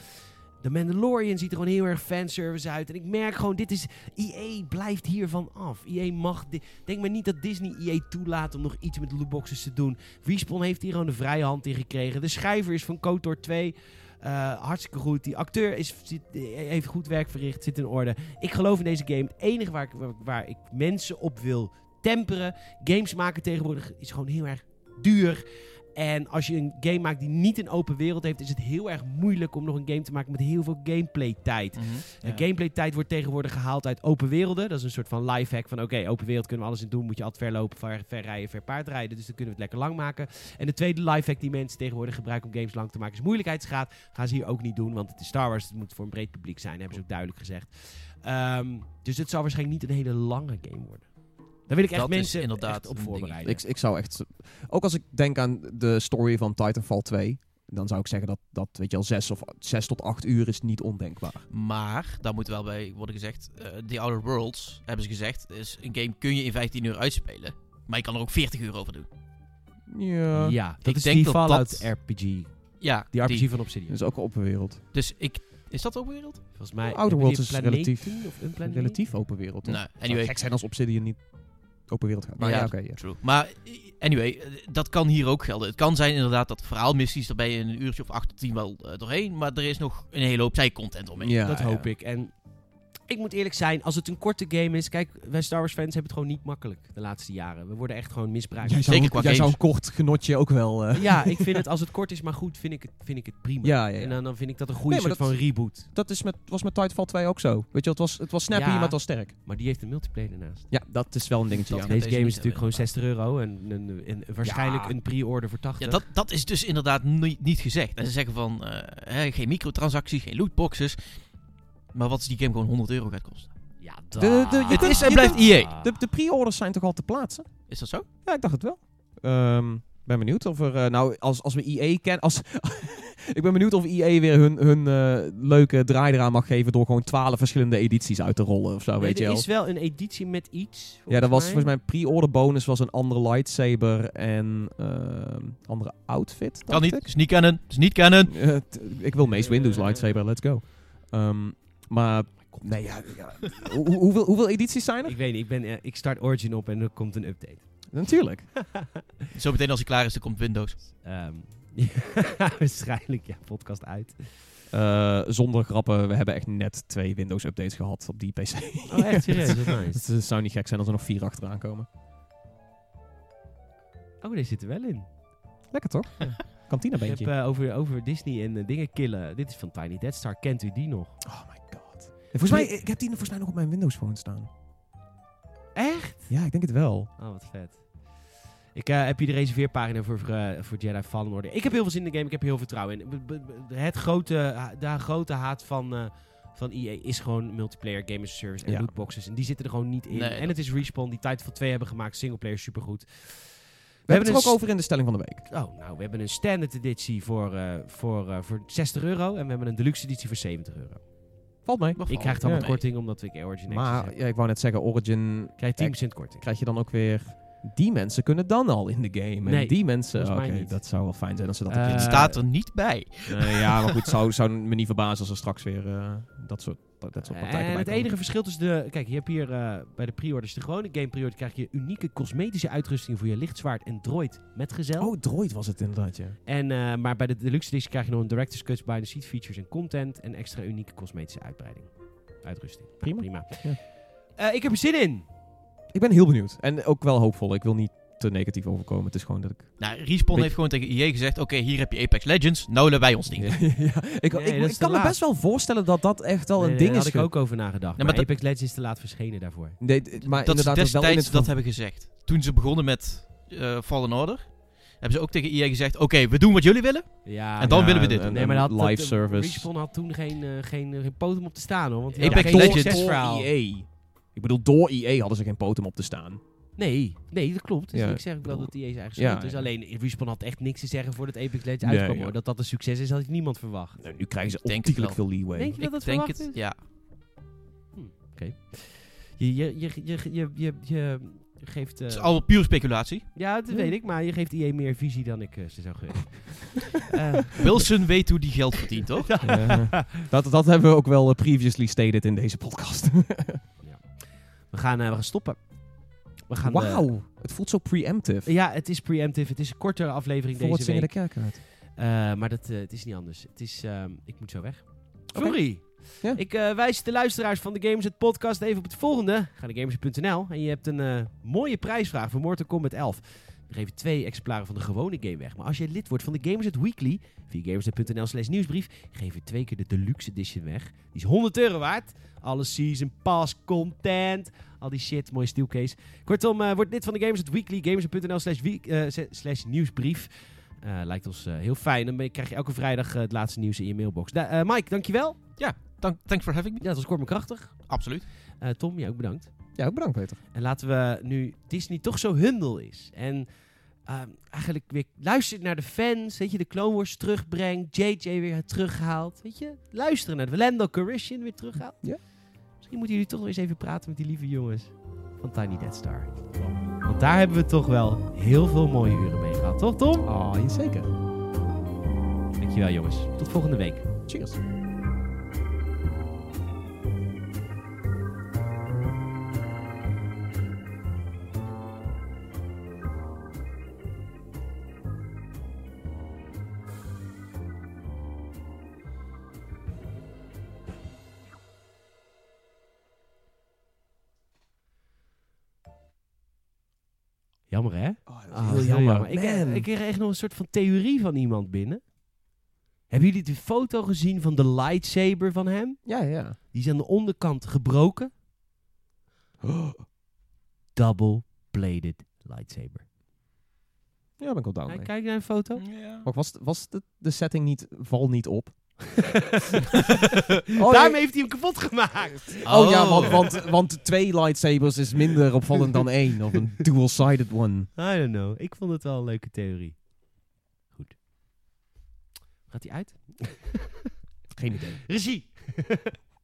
[SPEAKER 1] De Mandalorian ziet er gewoon heel erg fanservice uit. En ik merk gewoon, dit is... EA E blijft hiervan af. EA mag... di- Denk maar niet dat Disney EA toelaat om nog iets met lootboxes te doen. Respawn heeft hier gewoon de vrije hand in gekregen. De schrijver is van KOTOR 2. eh, hartstikke goed. Die acteur is, zit- eh, heeft goed werk verricht, zit in orde. Ik geloof in deze game. Het enige waar ik, waar, waar ik mensen op wil temperen... Games maken tegenwoordig is gewoon heel erg duur. En als je een game maakt die niet een open wereld heeft... is het heel erg moeilijk om nog een game te maken met heel veel gameplay-tijd.
[SPEAKER 3] Mhm.
[SPEAKER 1] De gameplay-tijd wordt tegenwoordig gehaald uit open werelden. Dat is een soort van lifehack van... oké, open wereld kunnen we alles in doen. Moet je altijd ver lopen, ver, ver rijden, ver paardrijden. Dus dan kunnen we het lekker lang maken. En de tweede lifehack die mensen tegenwoordig gebruiken... om games lang te maken is moeilijkheidsgraad. Gaan ze hier ook niet doen, want het is Star Wars. Het moet voor een breed publiek zijn, hebben ze ook duidelijk gezegd. Ehm, dus het zal waarschijnlijk niet een hele lange game worden. Daar wil ik echt
[SPEAKER 3] Dat is
[SPEAKER 1] mensen
[SPEAKER 3] inderdaad
[SPEAKER 1] echt op
[SPEAKER 3] een
[SPEAKER 1] voorbereiden.
[SPEAKER 2] Ik, ik zou echt... Ook als ik denk aan de story van Titanfall 2... Dan zou ik zeggen dat, dat weet je al, zes, of, zes tot acht uur is niet ondenkbaar.
[SPEAKER 3] Maar, daar moet wel bij worden gezegd, eh The Outer Worlds, hebben ze gezegd, is een game kun je in 15 uur uitspelen. Maar je kan er ook 40 uur over doen.
[SPEAKER 2] Ja.
[SPEAKER 1] ja, dat
[SPEAKER 3] ik
[SPEAKER 1] is
[SPEAKER 3] denk
[SPEAKER 1] die
[SPEAKER 3] dat
[SPEAKER 1] Fallout
[SPEAKER 3] dat-
[SPEAKER 1] RPG.
[SPEAKER 3] Ja,
[SPEAKER 1] Die RPG
[SPEAKER 3] die.
[SPEAKER 1] van Obsidian.
[SPEAKER 2] Dat is ook een open wereld.
[SPEAKER 3] Dus ik... Is dat ook wereld?
[SPEAKER 1] Volgens mij...
[SPEAKER 2] Outer Worlds is
[SPEAKER 1] planeten
[SPEAKER 2] relatief-
[SPEAKER 1] Of een planeet?
[SPEAKER 2] Relatief open wereld. toch?
[SPEAKER 3] Nou,
[SPEAKER 2] Het zou
[SPEAKER 3] anyway.
[SPEAKER 2] gek zijn als Obsidian niet open wereld gaat. Maar
[SPEAKER 3] Ja,
[SPEAKER 2] ja, oké. ja.
[SPEAKER 3] True. Maar eh, anyway, eh, dat kan hier ook gelden. Het kan zijn inderdaad dat verhaalmissies, daar ben je in een uurtje of 8 tot 10 wel eh, doorheen. Maar er is nog een hele hoop zijcontent omheen.
[SPEAKER 2] Ja,
[SPEAKER 1] dat
[SPEAKER 2] ja.
[SPEAKER 1] hoop ik. En ik moet eerlijk zijn, als het een korte game is... Kijk, wij Star Wars fans hebben het gewoon niet makkelijk de laatste jaren. We worden echt gewoon misbruikt.
[SPEAKER 2] Jij zou,
[SPEAKER 3] Zeker
[SPEAKER 2] een-
[SPEAKER 3] qua
[SPEAKER 2] jij zou
[SPEAKER 3] games.
[SPEAKER 2] een kort genotje ook wel... eh,
[SPEAKER 1] Ja, ik vind het, als het kort is, maar goed, vind ik het, vind ik het prima.
[SPEAKER 2] Ja, ja, ja.
[SPEAKER 1] En dan, dan vind ik dat een goede
[SPEAKER 2] Nee, maar
[SPEAKER 1] soort van reboot.
[SPEAKER 2] Dat is met, was met Titanfall 2 ook zo. Weet je, wel, het was, het was snappy,
[SPEAKER 1] Ja.
[SPEAKER 2] maar het was sterk.
[SPEAKER 1] Maar die heeft een multiplayer ernaast.
[SPEAKER 2] Ja, dat is wel een dingetje.
[SPEAKER 3] Dat-
[SPEAKER 2] ja.
[SPEAKER 1] Deze
[SPEAKER 3] deze
[SPEAKER 1] game is
[SPEAKER 3] niet
[SPEAKER 1] natuurlijk gewoon 60
[SPEAKER 3] hebben,
[SPEAKER 1] euro en, en, en waarschijnlijk
[SPEAKER 2] Ja.
[SPEAKER 1] een pre-order voor 80.
[SPEAKER 3] Ja, dat, dat is dus inderdaad ni- niet gezegd. En ze zeggen van, eh, hè, geen microtransacties, geen lootboxes. Maar wat als die game gewoon 100 euro gaat kosten?
[SPEAKER 1] Ja,
[SPEAKER 2] de- je
[SPEAKER 1] dat-
[SPEAKER 2] kunt-
[SPEAKER 3] Het is en
[SPEAKER 2] je E
[SPEAKER 3] blijft
[SPEAKER 1] kunt-
[SPEAKER 3] EA.
[SPEAKER 2] De, Oh, de pre-orders zijn toch al te plaatsen?
[SPEAKER 3] Is dat zo?
[SPEAKER 2] Ja, ik dacht het wel. Ehm, ben benieuwd of er... eh, nou, als, als we EA kennen... Als, ik ben benieuwd of EA weer hun, hun eh, leuke draai eraan mag geven... door gewoon twaalf verschillende edities uit te rollen of zo,
[SPEAKER 1] Nee,
[SPEAKER 2] weet je
[SPEAKER 1] er
[SPEAKER 2] wel.
[SPEAKER 1] is wel een editie met iets.
[SPEAKER 2] Ja, dat was volgens mij een pre-order bonus was een andere lightsaber en ehm, andere outfit.
[SPEAKER 3] Kan
[SPEAKER 2] dacht
[SPEAKER 3] niet.
[SPEAKER 2] ik.
[SPEAKER 3] Is niet canon. Is niet canon.
[SPEAKER 2] Eh, t- ik wil Mace Windows lightsaber, let's go. Ehm, maar nee, ja, ja. Hoe- hoeveel, hoeveel edities zijn er?
[SPEAKER 1] Ik weet niet, ik, ben, eh, ik start Origin op en er komt een update.
[SPEAKER 2] Natuurlijk.
[SPEAKER 3] Zometeen als hij klaar is, dan komt Windows.
[SPEAKER 1] Ehm, waarschijnlijk, ja, podcast uit.
[SPEAKER 2] Eh, zonder grappen, we hebben echt net twee Windows updates gehad op die PC.
[SPEAKER 1] Oh, echt serieus? Wat nice.
[SPEAKER 2] Het eh, zou niet gek zijn als er nog vier achteraan komen.
[SPEAKER 1] Oh, deze zit er wel in.
[SPEAKER 2] Lekker toch? Kantina
[SPEAKER 1] Ik heb
[SPEAKER 2] beentje.
[SPEAKER 1] eh, over, over Disney en eh, dingen killen. Dit is van Tiny Dead Star. Kent u die nog?
[SPEAKER 2] Oh my god.
[SPEAKER 1] eh,
[SPEAKER 2] Volgens mij, ik heb die volgens mij nog op mijn Windows phone staan.
[SPEAKER 1] Echt?
[SPEAKER 2] Ja, ik denk het wel.
[SPEAKER 1] Oh, wat vet. Ik eh, heb hier de reserveerpagina voor, eh, voor Jedi Fallen Order. Ik heb heel veel zin in de game. Ik heb heel veel vertrouwen in. B- b- b- Het grote, de grote haat van, eh van EA is gewoon multiplayer, game as a service en
[SPEAKER 2] Ja.
[SPEAKER 1] lootboxes. En die zitten er gewoon niet in.
[SPEAKER 3] Nee,
[SPEAKER 1] en
[SPEAKER 3] dat-
[SPEAKER 1] het is Respawn die Titanfall 2 hebben gemaakt. Singleplayer supergoed. We,
[SPEAKER 2] We hebben dus- het er
[SPEAKER 1] een
[SPEAKER 2] ook over in de stelling van de week.
[SPEAKER 1] Oh, nou, we hebben een standard editie voor, eh, voor, eh, voor 60 euro. En we hebben een deluxe editie voor 70 euro.
[SPEAKER 2] Valt mee.
[SPEAKER 1] Ik krijg dan
[SPEAKER 2] Ja.
[SPEAKER 1] wat korting omdat ik Origin Access
[SPEAKER 2] Maar
[SPEAKER 1] heb.
[SPEAKER 2] ja, ik wou net zeggen, Origin
[SPEAKER 1] Ik krijg 10% korting.
[SPEAKER 2] krijg je dan ook weer die mensen kunnen dan al in de game. En
[SPEAKER 1] Nee,
[SPEAKER 2] die mensen... Oké,
[SPEAKER 1] volgens mij niet.
[SPEAKER 2] dat zou wel fijn zijn als ze dat
[SPEAKER 1] Eh,
[SPEAKER 2] een
[SPEAKER 3] Het
[SPEAKER 2] keer-
[SPEAKER 3] staat er niet bij.
[SPEAKER 2] Nee, ja, maar goed, zou, zou me niet verbazen als er straks weer eh, dat soort, dat, dat soort praktijken
[SPEAKER 1] Eh, En
[SPEAKER 2] bij
[SPEAKER 1] het
[SPEAKER 2] komen.
[SPEAKER 1] enige verschil tussen de... Kijk, je hebt hier eh, bij de pre-orders, de gewone game pre-order, krijg je unieke cosmetische uitrusting voor je lichtzwaard en droid metgezel.
[SPEAKER 2] Oh, droid was het inderdaad, ja.
[SPEAKER 1] En, eh, maar bij de deluxe edition krijg je nog een director's cut, behind the seat features en content en extra unieke cosmetische uitbreiding. Uitrusting. Nou,
[SPEAKER 2] Prima.
[SPEAKER 1] Prima.
[SPEAKER 2] Ja.
[SPEAKER 1] Eh, ik heb er zin in.
[SPEAKER 2] Ik ben heel benieuwd. En ook wel hoopvol. Ik wil niet te negatief overkomen. Het is gewoon dat ik...
[SPEAKER 3] Nou, Respawn
[SPEAKER 2] Weet-
[SPEAKER 3] heeft gewoon tegen EA gezegd... Oké, hier heb je Apex Legends. Nou willen wij ons niet.
[SPEAKER 2] Ja, ik,
[SPEAKER 1] Nee,
[SPEAKER 2] ik,
[SPEAKER 1] dat is
[SPEAKER 2] ik
[SPEAKER 1] te
[SPEAKER 2] kan me
[SPEAKER 1] laat.
[SPEAKER 2] best wel voorstellen dat dat echt wel
[SPEAKER 1] Nee,
[SPEAKER 2] een
[SPEAKER 1] nee,
[SPEAKER 2] ding
[SPEAKER 1] Eh, daar
[SPEAKER 2] is.
[SPEAKER 1] had ik
[SPEAKER 2] ge-
[SPEAKER 1] ook over nagedacht.
[SPEAKER 3] maar
[SPEAKER 1] maar
[SPEAKER 3] dat-
[SPEAKER 1] Apex Legends is te laat verschenen daarvoor.
[SPEAKER 2] Nee, d- maar
[SPEAKER 3] dat ze
[SPEAKER 2] inderdaad, dat is wel in
[SPEAKER 3] destijds
[SPEAKER 2] het
[SPEAKER 3] dat
[SPEAKER 2] ver-
[SPEAKER 3] hebben gezegd. Toen ze begonnen met eh, Fallen Order... hebben ze ook tegen EA gezegd... Oké, we doen wat jullie willen.
[SPEAKER 1] Ja,
[SPEAKER 3] En dan
[SPEAKER 2] Ja,
[SPEAKER 3] willen we dit
[SPEAKER 2] en-
[SPEAKER 3] doen.
[SPEAKER 2] en-
[SPEAKER 1] Nee, maar dat
[SPEAKER 2] live
[SPEAKER 1] dat-
[SPEAKER 2] service.
[SPEAKER 1] Respawn had toen geen, eh, geen, geen poten om op te staan hoor. Want die
[SPEAKER 3] Ik
[SPEAKER 1] hadden
[SPEAKER 3] ben
[SPEAKER 1] geen
[SPEAKER 3] dol-
[SPEAKER 1] succesverhaal.
[SPEAKER 2] EA. Ik bedoel, door EA hadden ze geen poten om op te staan.
[SPEAKER 1] Nee, nee, dat klopt. Dus
[SPEAKER 2] Ja,
[SPEAKER 1] ik zeg ook wel dat die zijn eigen
[SPEAKER 2] Ja,
[SPEAKER 1] schuld is.
[SPEAKER 2] ja.
[SPEAKER 1] Alleen Respawn had echt niks te zeggen voordat Apex Legends
[SPEAKER 2] Nee,
[SPEAKER 1] uitkwam.
[SPEAKER 2] ja.
[SPEAKER 1] hoor. Dat dat een succes is, had ik niemand verwacht.
[SPEAKER 2] Nou, nu krijgen ze
[SPEAKER 3] Ik denk het
[SPEAKER 2] ontiegelijk veel leeway.
[SPEAKER 1] Denk je dat
[SPEAKER 3] Ik
[SPEAKER 1] dat
[SPEAKER 3] denk
[SPEAKER 1] verwacht
[SPEAKER 3] het,
[SPEAKER 1] is?
[SPEAKER 3] ja.
[SPEAKER 1] Je, je, je, je, je, je, je geeft... eh,
[SPEAKER 3] Het is allemaal puur speculatie.
[SPEAKER 1] Ja, dat weet ik, maar je geeft IE meer visie dan ik eh, ze zou geven. Eh,
[SPEAKER 3] Wilson weet hoe die geld verdient, toch?
[SPEAKER 2] Ja. dat, dat hebben we ook wel eh, previously stated in deze podcast.
[SPEAKER 1] we, gaan, eh, we gaan stoppen. We gaan, eh,
[SPEAKER 2] Wauw, het voelt zo preemptive.
[SPEAKER 1] ja, het is preemptive. Het is een kortere aflevering
[SPEAKER 2] Voor wat
[SPEAKER 1] deze
[SPEAKER 2] zingen de
[SPEAKER 1] week.
[SPEAKER 2] kerk uit.
[SPEAKER 1] Eh, maar dat, eh, het is niet anders. Het is, ehm, ik moet zo weg.
[SPEAKER 2] Oké.
[SPEAKER 1] Sorry.
[SPEAKER 2] Ja.
[SPEAKER 1] Ik eh, wijs de luisteraars van de Games het podcast even op het volgende. Ga naar gamers.nl en je hebt een eh, mooie prijsvraag voor Mortal Kombat 11. We geven twee exemplaren van de gewone game weg. Maar als je lid wordt van de Gamers het Weekly, via gamers.nl slash nieuwsbrief, geven we twee keer de Deluxe Edition weg. Die is 100 euro waard. Alle season pass content, al die shit, mooie steelcase. Kortom, eh word lid van de Gamers het Weekly, gamers.nl slash week- eh, s- slash nieuwsbrief. Eh, lijkt ons eh, heel fijn. Dan ben je- krijg je elke vrijdag eh, het laatste nieuws in je mailbox. Da- eh, Mike, dankjewel.
[SPEAKER 3] Dank, thanks for having me.
[SPEAKER 1] Ja, dat was kort maar krachtig.
[SPEAKER 3] Absoluut.
[SPEAKER 1] Eh, Tom, jij ook bedankt.
[SPEAKER 2] Ja, ook bedankt Peter.
[SPEAKER 1] En laten we nu Disney toch zo humble is. En ehm, eigenlijk weer luistert naar de fans. Weet je, de Clone Wars terugbrengt. JJ weer terughaalt. Weet je, luisteren naar de Lando Calrissian weer terughaalt.
[SPEAKER 2] Ja.
[SPEAKER 1] Misschien moeten jullie toch wel eens even praten met die lieve jongens van Tiny Dead Star. Want daar hebben we toch wel heel veel mooie uren mee gehad. Toch Tom?
[SPEAKER 2] Ah, ja, zeker.
[SPEAKER 1] Dankjewel jongens. Tot volgende week.
[SPEAKER 2] Cheers.
[SPEAKER 1] Jammer hè?
[SPEAKER 2] Ah,
[SPEAKER 1] heel jammer. Ik,
[SPEAKER 2] Man.
[SPEAKER 1] ik kreeg echt nog een soort van theorie van iemand binnen. Hebben jullie de foto gezien van de lightsaber van hem?
[SPEAKER 2] Ja, ja.
[SPEAKER 1] Die is aan de onderkant gebroken. Double-bladed lightsaber.
[SPEAKER 2] Ja, ben ik wel down
[SPEAKER 1] Kijk,
[SPEAKER 2] mee.
[SPEAKER 1] kijk naar de foto.
[SPEAKER 3] Ja.
[SPEAKER 2] Maar was, was de, de setting niet, val niet op?
[SPEAKER 1] Daarmee
[SPEAKER 2] nee.
[SPEAKER 1] heeft hij hem kapot gemaakt.
[SPEAKER 2] Oh, ja, want, want, want twee lightsabers is minder opvallend dan één. Of een dual-sided one.
[SPEAKER 1] I don't know. Ik vond het wel een leuke theorie. Goed. Gaat hij uit?
[SPEAKER 2] Geen idee.
[SPEAKER 1] Regie!